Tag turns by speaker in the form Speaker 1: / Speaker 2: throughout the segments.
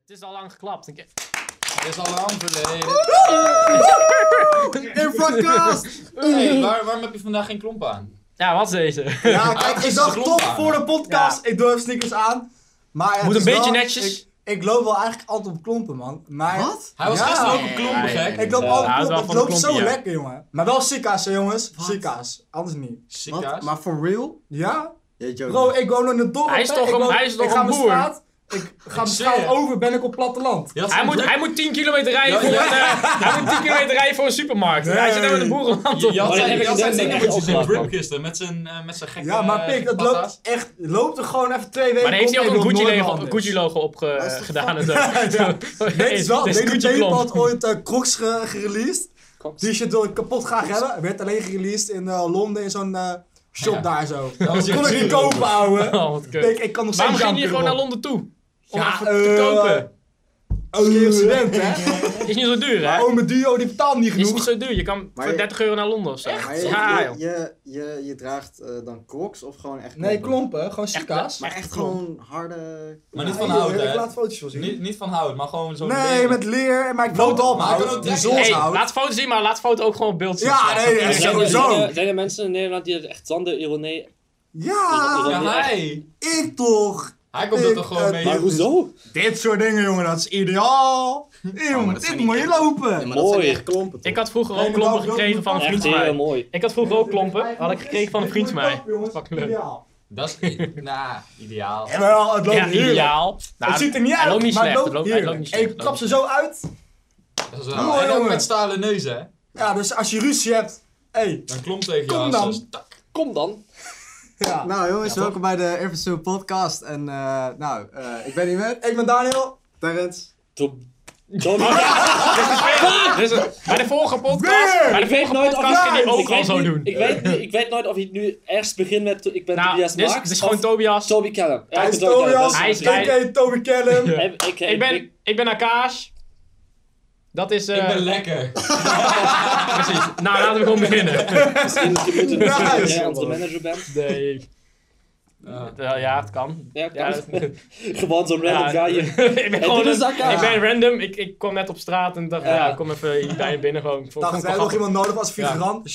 Speaker 1: Het is al lang geklapt. Ik-
Speaker 2: Het is al lang verleden. Hey, waar, waarom heb je vandaag geen klomp aan?
Speaker 1: Ja, wat is deze?
Speaker 3: Ja, kijk,
Speaker 2: precies,
Speaker 3: ik dacht
Speaker 2: de klomp
Speaker 3: toch
Speaker 2: aan.
Speaker 3: voor de podcast, ik doe even sneakers aan. Maar ja,
Speaker 1: Moet
Speaker 3: het
Speaker 1: een
Speaker 3: is
Speaker 1: beetje
Speaker 3: wel-
Speaker 1: netjes.
Speaker 3: Ik, ik loop wel eigenlijk altijd op klompen, man. Maar, Wat?
Speaker 2: Hij was
Speaker 3: Ja.
Speaker 2: gisteren ook een klomp,
Speaker 1: Nee.
Speaker 2: gek.
Speaker 3: Ik loop
Speaker 1: Ja,
Speaker 3: altijd
Speaker 1: hij
Speaker 3: op
Speaker 1: is wel
Speaker 3: klompen,
Speaker 1: van
Speaker 3: ik
Speaker 1: de
Speaker 3: loop zo
Speaker 1: klompen, ja.
Speaker 3: lekker, jongen. Maar wel sika's, hè, jongens. Sika's, anders niet.
Speaker 4: Wat?
Speaker 2: Sika's.
Speaker 4: Maar for real?
Speaker 3: Ja?
Speaker 4: Jeetje,
Speaker 3: Bro, ik woon in het dorp.
Speaker 1: Hij is
Speaker 3: hè.
Speaker 1: toch
Speaker 3: ik
Speaker 1: een-
Speaker 3: woon-
Speaker 1: hij is toch
Speaker 3: ik ga
Speaker 1: een
Speaker 3: mijn
Speaker 1: boer?
Speaker 3: straat- Ik ga mijn
Speaker 2: zweer
Speaker 3: straat
Speaker 2: je.
Speaker 3: over, ben ik op platteland.
Speaker 2: Je had
Speaker 1: Hij
Speaker 2: geen
Speaker 1: moet,
Speaker 2: druk-
Speaker 1: hij moet 10 kilometer rijden
Speaker 2: Ja,
Speaker 1: voor,
Speaker 2: ja.
Speaker 1: een, eh, hij moet 10 kilometer rijden voor een supermarkt. Hij zit nou in een boerenland.
Speaker 2: Je- je
Speaker 3: Oh,
Speaker 2: had
Speaker 1: op.
Speaker 2: zijn- je had zijn
Speaker 5: ik denk dat
Speaker 2: dingetjes
Speaker 5: je
Speaker 2: in
Speaker 5: opslag
Speaker 2: drip
Speaker 5: mag.
Speaker 2: gisteren met zijn, eh, met zijn gekke
Speaker 3: Ja, maar pik, dat
Speaker 2: eh, patas.
Speaker 3: loopt echt, loopt er gewoon even twee weken
Speaker 1: Maar dan heeft hij
Speaker 3: op
Speaker 1: ook
Speaker 3: en
Speaker 1: een
Speaker 3: je
Speaker 1: Gucci
Speaker 3: loopt nooit meer
Speaker 1: logo,
Speaker 3: anders.
Speaker 1: Gucci logo op ge-
Speaker 4: Dat is toch
Speaker 1: gedaan. En zo.
Speaker 3: Ja. Dit is wel,
Speaker 1: Dit is
Speaker 3: deze
Speaker 1: Gucci
Speaker 3: Tape had
Speaker 1: klomp.
Speaker 3: ooit eh, Crocs ge- gereleased. Die shit wil ik kapot graag hebben. Werd alleen gereleased in eh, Londen in zo'n eh, shop
Speaker 2: Ja.
Speaker 3: daar zo.
Speaker 2: was
Speaker 3: kon ik
Speaker 2: hier
Speaker 3: niet kopen, ouwe.
Speaker 1: Oh, wat kut.
Speaker 3: Ik, ik kan nog steeds
Speaker 1: Waarom ging je
Speaker 3: janken
Speaker 1: gewoon naar
Speaker 3: erop.
Speaker 1: Londen toe? Om
Speaker 3: Ja,
Speaker 1: even te
Speaker 3: eh,
Speaker 1: kopen.
Speaker 3: Als student, hè?
Speaker 1: Is niet zo duur,
Speaker 3: Maar
Speaker 1: hè?
Speaker 3: Ome Duo oh, die betaalt niet
Speaker 1: Is niet
Speaker 3: genoeg.
Speaker 1: zo duur. Je kan
Speaker 4: Maar
Speaker 1: voor
Speaker 4: je-
Speaker 1: 30 euro naar Londen of zo.
Speaker 4: Maar je,
Speaker 1: Ja,
Speaker 4: je,
Speaker 1: joh.
Speaker 4: je, je, je draagt eh, dan crocs of gewoon echt
Speaker 3: Nee,
Speaker 4: klompen?
Speaker 3: klompen. Gewoon sika's.
Speaker 4: Maar echt gewoon harde...
Speaker 2: Maar niet
Speaker 3: Ja,
Speaker 2: van
Speaker 3: hier,
Speaker 2: hout,
Speaker 3: Ik
Speaker 2: hè.
Speaker 3: laat fotootjes wel zien.
Speaker 2: Niet, niet van hout, maar gewoon zo'n...
Speaker 3: Nee,
Speaker 2: ding.
Speaker 3: met leer. Maar ik loop al op
Speaker 2: maar hij kan ook
Speaker 3: hout. Die
Speaker 2: trekken.
Speaker 3: zols
Speaker 1: Hey,
Speaker 3: hout.
Speaker 1: laat foto zien, maar laat foto ook gewoon op beeld zien.
Speaker 3: Ja,
Speaker 1: straks.
Speaker 3: nee,
Speaker 1: Dat
Speaker 3: ja,
Speaker 1: iedereen-
Speaker 5: Zijn er-
Speaker 3: sowieso.
Speaker 5: Zijn er, zijn er mensen in Nederland die het echt zonder ironie...
Speaker 3: Ja,
Speaker 2: Ja, hij.
Speaker 3: ik toch.
Speaker 2: Hij komt er
Speaker 3: Ik,
Speaker 2: toch
Speaker 3: eh,
Speaker 2: gewoon mee.
Speaker 5: Maar hoezo?
Speaker 4: dus-
Speaker 3: Dit soort dingen, jongen, dat is
Speaker 1: Oh,
Speaker 3: ideaal.
Speaker 4: maar
Speaker 3: Jongen,
Speaker 4: dat
Speaker 3: dit
Speaker 4: zijn
Speaker 3: moet
Speaker 4: niet
Speaker 3: je
Speaker 4: echt-
Speaker 3: lopen.
Speaker 4: maar dat zijn
Speaker 5: Mooi.
Speaker 4: echt klompen toch?
Speaker 1: Ik had vroeger
Speaker 3: Nee,
Speaker 1: ook
Speaker 3: maar
Speaker 1: klompen
Speaker 3: waarom-
Speaker 1: gekregen van een vriend van
Speaker 5: Echt heel
Speaker 1: mij.
Speaker 5: mooi.
Speaker 1: Ik had vroeger ook klompen, had ik gekregen van een vriend van mij.
Speaker 3: Fuck
Speaker 1: Fucking leuk.
Speaker 2: Dat is... Nou, ideaal.
Speaker 3: Jawel, het loopt
Speaker 1: Ja,
Speaker 3: heerlijk.
Speaker 1: ideaal. Nou,
Speaker 3: het ziet er niet
Speaker 1: hij
Speaker 3: uit,
Speaker 1: loopt niet
Speaker 3: maar
Speaker 1: slecht,
Speaker 3: het
Speaker 1: het
Speaker 3: loopt
Speaker 1: loopt- hij
Speaker 3: heerlijk.
Speaker 1: loopt niet
Speaker 3: En
Speaker 1: slecht,
Speaker 3: Ik
Speaker 1: het
Speaker 3: klap
Speaker 1: loopt
Speaker 3: ze zo uit.
Speaker 2: Dat is wel...
Speaker 3: Mooi,
Speaker 2: en ook
Speaker 3: jongen.
Speaker 2: met stalen neuzen, hè.
Speaker 3: Ja, dus als je ruzie hebt, hé. Hey.
Speaker 2: Dan klomp tegen je
Speaker 3: Kom
Speaker 2: aan,
Speaker 3: dan.
Speaker 2: zo, tak.
Speaker 5: Kom dan.
Speaker 3: Ja.
Speaker 4: Nou jongens, welkom bij de Irvisual podcast. En eh, nou, eh, ik ben hier met
Speaker 3: Ik ben Daniel.
Speaker 4: Terrence.
Speaker 5: Doe- Doe-
Speaker 1: Dus, eh, bij de vorige podcast,
Speaker 3: Weer!
Speaker 1: bij de
Speaker 5: Ik weet
Speaker 1: vorige
Speaker 5: nooit of
Speaker 1: podcast ging hij
Speaker 5: ik
Speaker 1: ook al
Speaker 5: weet
Speaker 1: zo
Speaker 5: niet-
Speaker 1: doen.
Speaker 5: Ik weet, niet, ik weet nooit of hij nu ergens begint met ik ben
Speaker 1: Nou,
Speaker 5: Tobias
Speaker 1: dit is,
Speaker 5: Maak
Speaker 1: dit is
Speaker 5: of
Speaker 1: gewoon Tobias.
Speaker 5: Toby Callum. Ja,
Speaker 3: Hij
Speaker 5: ik
Speaker 3: is
Speaker 5: ben Toby Callum, dat
Speaker 3: Tobias.
Speaker 5: is-
Speaker 1: Hij is
Speaker 5: ik-
Speaker 1: bij-
Speaker 3: Ik Toby Callum.
Speaker 1: Ja.
Speaker 5: ik- ik-
Speaker 1: Ik ben, ik ben Akash. Dat is... eh
Speaker 2: Ik ben lekker.
Speaker 1: precies. Nou, laten we gewoon beginnen.
Speaker 5: Misschien moet je moeten doen dat
Speaker 3: Nice.
Speaker 5: jij onze manager bent.
Speaker 1: Nee. Wel, ja, het kan.
Speaker 5: Ja,
Speaker 1: Ja,
Speaker 5: kan.
Speaker 1: dat- ja.
Speaker 5: Gewoon zo'n random guy.
Speaker 1: ik ben gewoon...
Speaker 5: dit is
Speaker 1: een-
Speaker 5: Akash.
Speaker 1: Ik ben random, ik, ik kwam net op straat en dacht, ja,
Speaker 5: Ja.
Speaker 1: ik kom even hier bij je binnen gewoon. Ik vond-
Speaker 3: Dacht,
Speaker 1: vond
Speaker 3: we
Speaker 1: het wel
Speaker 3: hebben nog
Speaker 1: grappig.
Speaker 3: iemand nodig als figurant.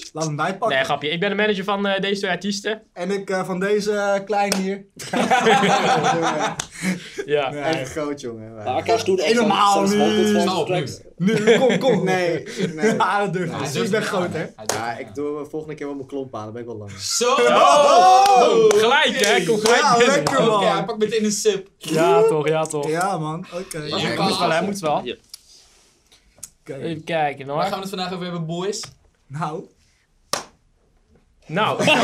Speaker 3: Ja. Laat hem mij pakken.
Speaker 1: Nee, grapje. Ik ben de manager van eh, deze twee artiesten.
Speaker 3: En ik eh, van deze eh, kleine hier.
Speaker 1: Ja.
Speaker 3: Ja.
Speaker 4: Echt groot jongen. wij.
Speaker 5: Maar Akash doet echt
Speaker 3: Helemaal
Speaker 5: zo'n- zo'n
Speaker 3: niet.
Speaker 5: vocals van
Speaker 2: Snap
Speaker 5: zijn
Speaker 2: ik
Speaker 5: tracks.
Speaker 3: Nu, kom, kom.
Speaker 4: Nee, nee.
Speaker 3: Ja, dat durf ik.
Speaker 2: Hij
Speaker 3: niet.
Speaker 2: durft
Speaker 3: ik ben
Speaker 2: niet
Speaker 3: groot,
Speaker 2: aan,
Speaker 3: hè.
Speaker 2: Hij durft
Speaker 4: Ja,
Speaker 2: niet
Speaker 4: ik doe eh, volgende keer wel mijn klomp aan, dan ben ik wel lang.
Speaker 2: aan. Zo!
Speaker 3: Oh!
Speaker 1: Gelijk, hè? Kom gelijk
Speaker 3: Ja,
Speaker 1: binnen.
Speaker 3: lekker
Speaker 2: Oké, hij
Speaker 3: man.
Speaker 2: pakt meteen een sip.
Speaker 1: Ja, toch, ja, toch.
Speaker 3: Ja man, oké.
Speaker 2: Ja.
Speaker 1: Hij
Speaker 2: Lekker.
Speaker 1: moet wel, hij moet wel.
Speaker 5: Hier.
Speaker 3: Oké.
Speaker 1: Even kijken
Speaker 2: Waar
Speaker 1: hoor.
Speaker 2: gaan we het vandaag over hebben, boys?
Speaker 3: Nou,
Speaker 1: Nou, ja.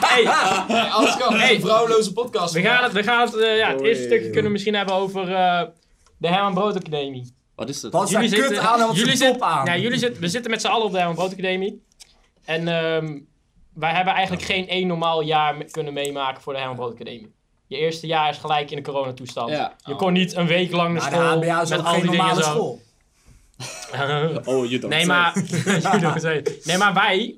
Speaker 1: hey,
Speaker 2: Ja, Alles kan. Hey, vrouwloze podcast.
Speaker 1: we gaan het, we gaan het, eh, ja, het eerste
Speaker 4: Oei.
Speaker 1: stukje kunnen we misschien hebben over eh, de Herman Brood Academie.
Speaker 5: Wat is dat?
Speaker 3: wat is daar kut aan en wat
Speaker 1: jullie
Speaker 3: is er top
Speaker 1: zitten,
Speaker 3: aan?
Speaker 1: ja, jullie zitten, we zitten met z'n allen op de Herman Brood Academie. En ehm, wij hebben eigenlijk geen één normaal jaar me- kunnen meemaken voor de Herman Brood Academie. Je eerste jaar is gelijk in de coronatoestand.
Speaker 5: Ja.
Speaker 1: Je kon niet een week lang naar
Speaker 3: Maar Nou, de
Speaker 1: school
Speaker 3: HBA is
Speaker 1: met
Speaker 3: ook
Speaker 1: al
Speaker 3: geen
Speaker 1: die dingen
Speaker 3: normale
Speaker 1: zo.
Speaker 3: school.
Speaker 5: Oh, you don't
Speaker 1: Nee,
Speaker 5: say.
Speaker 1: maar, You don't say. nee, maar wij,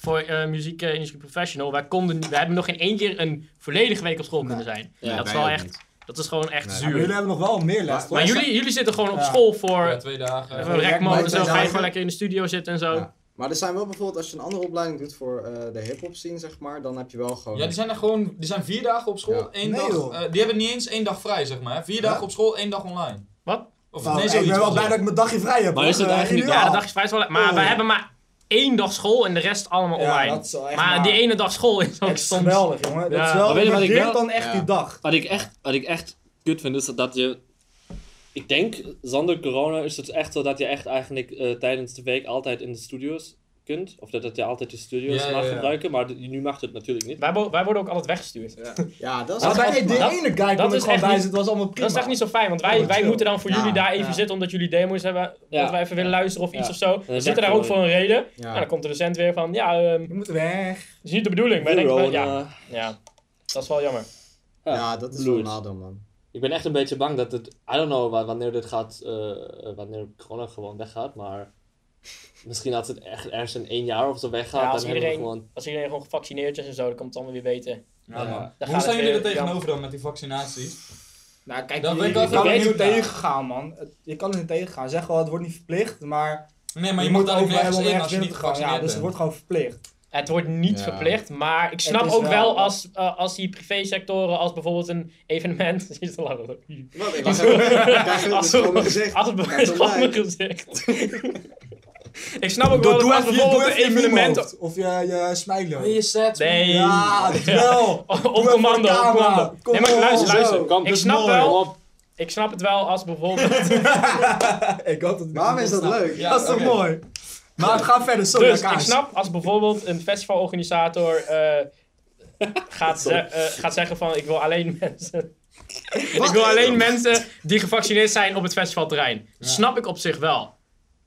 Speaker 1: voor eh muziekindustrie professional, wij konden, wij hebben nog geen één keer een volledige week op school kunnen zijn.
Speaker 5: Ja,
Speaker 1: dat, is
Speaker 4: wij
Speaker 1: wel
Speaker 4: ook
Speaker 1: echt, dat is gewoon echt
Speaker 3: Ja, maar
Speaker 1: zuur.
Speaker 3: jullie
Speaker 1: Maar,
Speaker 3: hebben nog wel meer les,
Speaker 4: Maar-
Speaker 3: toch?
Speaker 4: maar
Speaker 1: jullie, jullie zitten gewoon op
Speaker 3: Ja.
Speaker 1: school voor
Speaker 2: Ja, twee dagen.
Speaker 1: even rekmode en zo. Ga je
Speaker 4: dagen.
Speaker 1: gewoon lekker in de studio zitten en zo.
Speaker 4: Ja. Maar er zijn wel bijvoorbeeld, als je een andere opleiding doet voor eh, de hip-hop scene, zeg maar, dan heb je wel gewoon.
Speaker 2: Ja, die zijn er gewoon, die zijn vier dagen op school,
Speaker 4: Ja.
Speaker 2: één
Speaker 3: Nee,
Speaker 2: dag,
Speaker 3: joh.
Speaker 2: eh, die hebben niet eens één dag vrij, zeg maar. hè. Vier dagen op school, één dag online.
Speaker 1: Wat?
Speaker 2: Of
Speaker 3: Nou,
Speaker 2: nee,
Speaker 3: ik
Speaker 2: zoiets.
Speaker 3: ben wel
Speaker 2: was
Speaker 3: blij dat ik mijn dagje vrij heb.
Speaker 5: Maar
Speaker 3: hoor.
Speaker 5: is het
Speaker 3: Eh,
Speaker 5: eigenlijk niet-
Speaker 1: Ja,
Speaker 3: ideaal.
Speaker 1: de dag is vrij is wel leuk, Maar
Speaker 3: Oh.
Speaker 1: wij hebben maar één dag school en de rest allemaal
Speaker 3: Ja,
Speaker 1: online.
Speaker 3: dat is wel echt
Speaker 1: maar die ene dag school is ook
Speaker 3: Dat is
Speaker 1: soms...
Speaker 3: geweldig, jongen. Dat
Speaker 1: Ja.
Speaker 3: is wel,
Speaker 5: Maar weet je
Speaker 3: je
Speaker 5: wat ik
Speaker 3: leert
Speaker 5: wel-
Speaker 3: dan echt
Speaker 4: Ja.
Speaker 3: die dag.
Speaker 5: Wat ik echt, wat ik echt kut vind, is dat je... Ik denk, zonder corona is het echt zo dat je echt eigenlijk eh, tijdens de week altijd in de studios kunt. Of dat, dat je altijd je studios
Speaker 2: Ja, ja,
Speaker 5: mag
Speaker 2: ja.
Speaker 5: gebruiken, maar d- nu mag het natuurlijk niet.
Speaker 1: Wij, wo- wij worden ook altijd weggestuurd.
Speaker 4: Ja, dat is
Speaker 3: Maar
Speaker 5: Dat
Speaker 3: bij
Speaker 5: was-
Speaker 3: die
Speaker 1: dat-
Speaker 3: ene guy
Speaker 1: dat
Speaker 3: kon ik
Speaker 1: is
Speaker 3: gewoon
Speaker 1: echt
Speaker 3: bij
Speaker 1: niet-
Speaker 3: zitten, het was allemaal prima.
Speaker 1: Dat is echt niet zo fijn, want wij,
Speaker 3: Allemaal
Speaker 1: wij
Speaker 3: chill.
Speaker 1: moeten dan voor
Speaker 4: Ja,
Speaker 1: jullie daar even
Speaker 4: ja.
Speaker 1: zitten omdat jullie demo's hebben.
Speaker 5: Ja.
Speaker 1: Dat wij even willen luisteren of iets
Speaker 5: Ja.
Speaker 1: of zo. We
Speaker 5: werkt
Speaker 1: zitten daar
Speaker 5: wel
Speaker 1: ook voor een reden.
Speaker 4: Ja.
Speaker 1: En dan komt de docent weer van, ja, ehm,
Speaker 3: We moeten weg.
Speaker 1: dat is niet de bedoeling. Maar ik denk wel, ja,
Speaker 5: Corona.
Speaker 6: eh.
Speaker 1: ja, dat is wel jammer.
Speaker 5: Ja,
Speaker 4: Ja, dat is wel
Speaker 5: Blues.
Speaker 4: een nadeel, man.
Speaker 5: Ik ben echt een beetje bang dat het... I don't know wa- wanneer dit gaat, eh, eh, wanneer corona gewoon weggaat, maar... Misschien als het echt ergens in één jaar of zo weggaat,
Speaker 1: Ja, als
Speaker 5: dan hebben we
Speaker 1: iedereen-
Speaker 5: gewoon...
Speaker 1: Als iedereen gewoon gevaccineerd is en zo, dan komt het allemaal weer weten.
Speaker 2: Ja, man.
Speaker 1: Dan
Speaker 2: Hoe
Speaker 1: gaat
Speaker 2: staan
Speaker 1: het
Speaker 2: jullie er
Speaker 1: weer-
Speaker 2: tegenover dan met die vaccinaties?
Speaker 3: Nou, kijk,
Speaker 2: Dat
Speaker 3: je,
Speaker 2: wil ik
Speaker 3: je
Speaker 2: wel
Speaker 3: kan
Speaker 2: weten,
Speaker 3: er niet
Speaker 2: ja.
Speaker 3: tegengaan, man. Het- Je kan er niet tegengaan. Zeg wel, het wordt niet verplicht, maar,
Speaker 2: Nee, maar je, moet daar ook
Speaker 3: overal
Speaker 2: nergens in als je
Speaker 3: binnen
Speaker 2: niet
Speaker 3: te gaan.
Speaker 2: gevaccineerd
Speaker 3: Ja, dus
Speaker 2: bent.
Speaker 3: het wordt gewoon verplicht.
Speaker 1: Het wordt niet
Speaker 2: Ja.
Speaker 1: verplicht, maar ik snap
Speaker 3: is
Speaker 1: ook wel,
Speaker 3: wel-
Speaker 1: als, eh, als die privésectoren, als bijvoorbeeld een evenement. Je is te lachen.
Speaker 4: Wat? Ik was even...
Speaker 1: Als-
Speaker 4: Als gewoon mijn gezicht.
Speaker 1: Als
Speaker 4: Kijk,
Speaker 1: het
Speaker 4: dan
Speaker 1: op mijn
Speaker 4: lijkt.
Speaker 1: gezicht. ik snap ook wel
Speaker 6: Doe,
Speaker 1: dat
Speaker 6: doe
Speaker 1: als
Speaker 6: even, je- doe
Speaker 1: bijvoorbeeld een
Speaker 6: even je
Speaker 1: evenement.
Speaker 6: miemoot of je, je smiley.
Speaker 3: Je zet.
Speaker 1: Nee.
Speaker 6: Ja, dat wel.
Speaker 1: Op
Speaker 6: Doe even
Speaker 1: commando,
Speaker 6: voor de
Speaker 1: op
Speaker 6: camera.
Speaker 1: commando.
Speaker 6: Kom
Speaker 1: Nee, maar luister,
Speaker 4: op.
Speaker 1: luister.
Speaker 4: Zo.
Speaker 5: Kom,
Speaker 1: Ik
Speaker 5: dus
Speaker 1: snap
Speaker 5: mooi.
Speaker 1: wel-
Speaker 5: Kom op.
Speaker 1: Ik snap het wel als
Speaker 6: Ik
Speaker 1: bijvoorbeeld.
Speaker 6: hoop dat het
Speaker 4: Waarom is dat
Speaker 6: ontsnapt.
Speaker 4: leuk?
Speaker 2: Ja.
Speaker 6: Dat is toch
Speaker 2: oké.
Speaker 6: mooi? Maar we gaan verder, zo
Speaker 1: dus
Speaker 6: naar
Speaker 1: ik
Speaker 6: kaas.
Speaker 1: snap als bijvoorbeeld een festivalorganisator eh, gaat, ze- eh, gaat zeggen van ik wil alleen mensen. ik wil alleen mensen die gevaccineerd zijn op het festivalterrein.
Speaker 2: Ja.
Speaker 1: Snap ik op zich wel.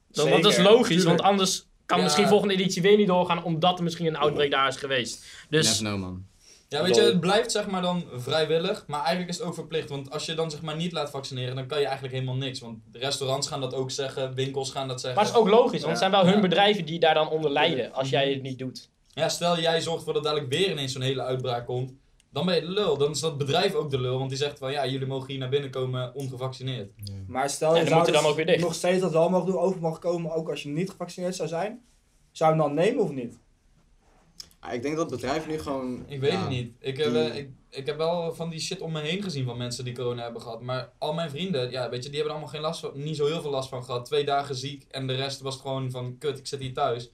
Speaker 1: Dat, want dat is
Speaker 3: Zeker,
Speaker 1: logisch,
Speaker 6: tuurlijk.
Speaker 1: want anders kan
Speaker 2: Ja.
Speaker 1: misschien volgende editie weer niet doorgaan omdat er misschien een outbreak daar is geweest. Dus
Speaker 7: Never know, man.
Speaker 2: Ja, weet je, het blijft zeg maar dan vrijwillig, maar eigenlijk is het ook verplicht. Want als je dan zeg maar niet laat vaccineren, dan kan je eigenlijk helemaal niks. Want restaurants gaan dat ook zeggen, winkels gaan dat zeggen.
Speaker 1: Maar het is ook logisch, want het zijn wel hun
Speaker 2: Ja.
Speaker 1: bedrijven die daar dan onder lijden als jij het niet doet.
Speaker 2: Ja, stel jij zorgt ervoor dat dadelijk weer ineens zo'n hele uitbraak komt. Dan ben je de lul. Dan is dat bedrijf ook de lul. Want die zegt van ja, jullie mogen hier naar binnen komen ongevaccineerd.
Speaker 3: Maar stel
Speaker 1: Ja,
Speaker 3: je
Speaker 1: dan
Speaker 3: zou
Speaker 1: moet hij dan ook weer dicht.
Speaker 3: nog steeds dat wel mogen doen, over mag komen, ook als je niet gevaccineerd zou zijn. Zou je hem dan nemen of niet?
Speaker 4: Ah, Ik denk dat het bedrijf nu gewoon...
Speaker 2: Ik weet
Speaker 4: ja,
Speaker 2: het niet. Ik heb,
Speaker 4: Die-
Speaker 2: eh, ik, ik heb wel van die shit om me heen gezien van mensen die corona hebben gehad. Maar al mijn vrienden, ja, weet je, die hebben er allemaal geen last van, niet zo heel veel last van gehad. Twee dagen ziek en de rest was gewoon van kut, ik zit hier thuis.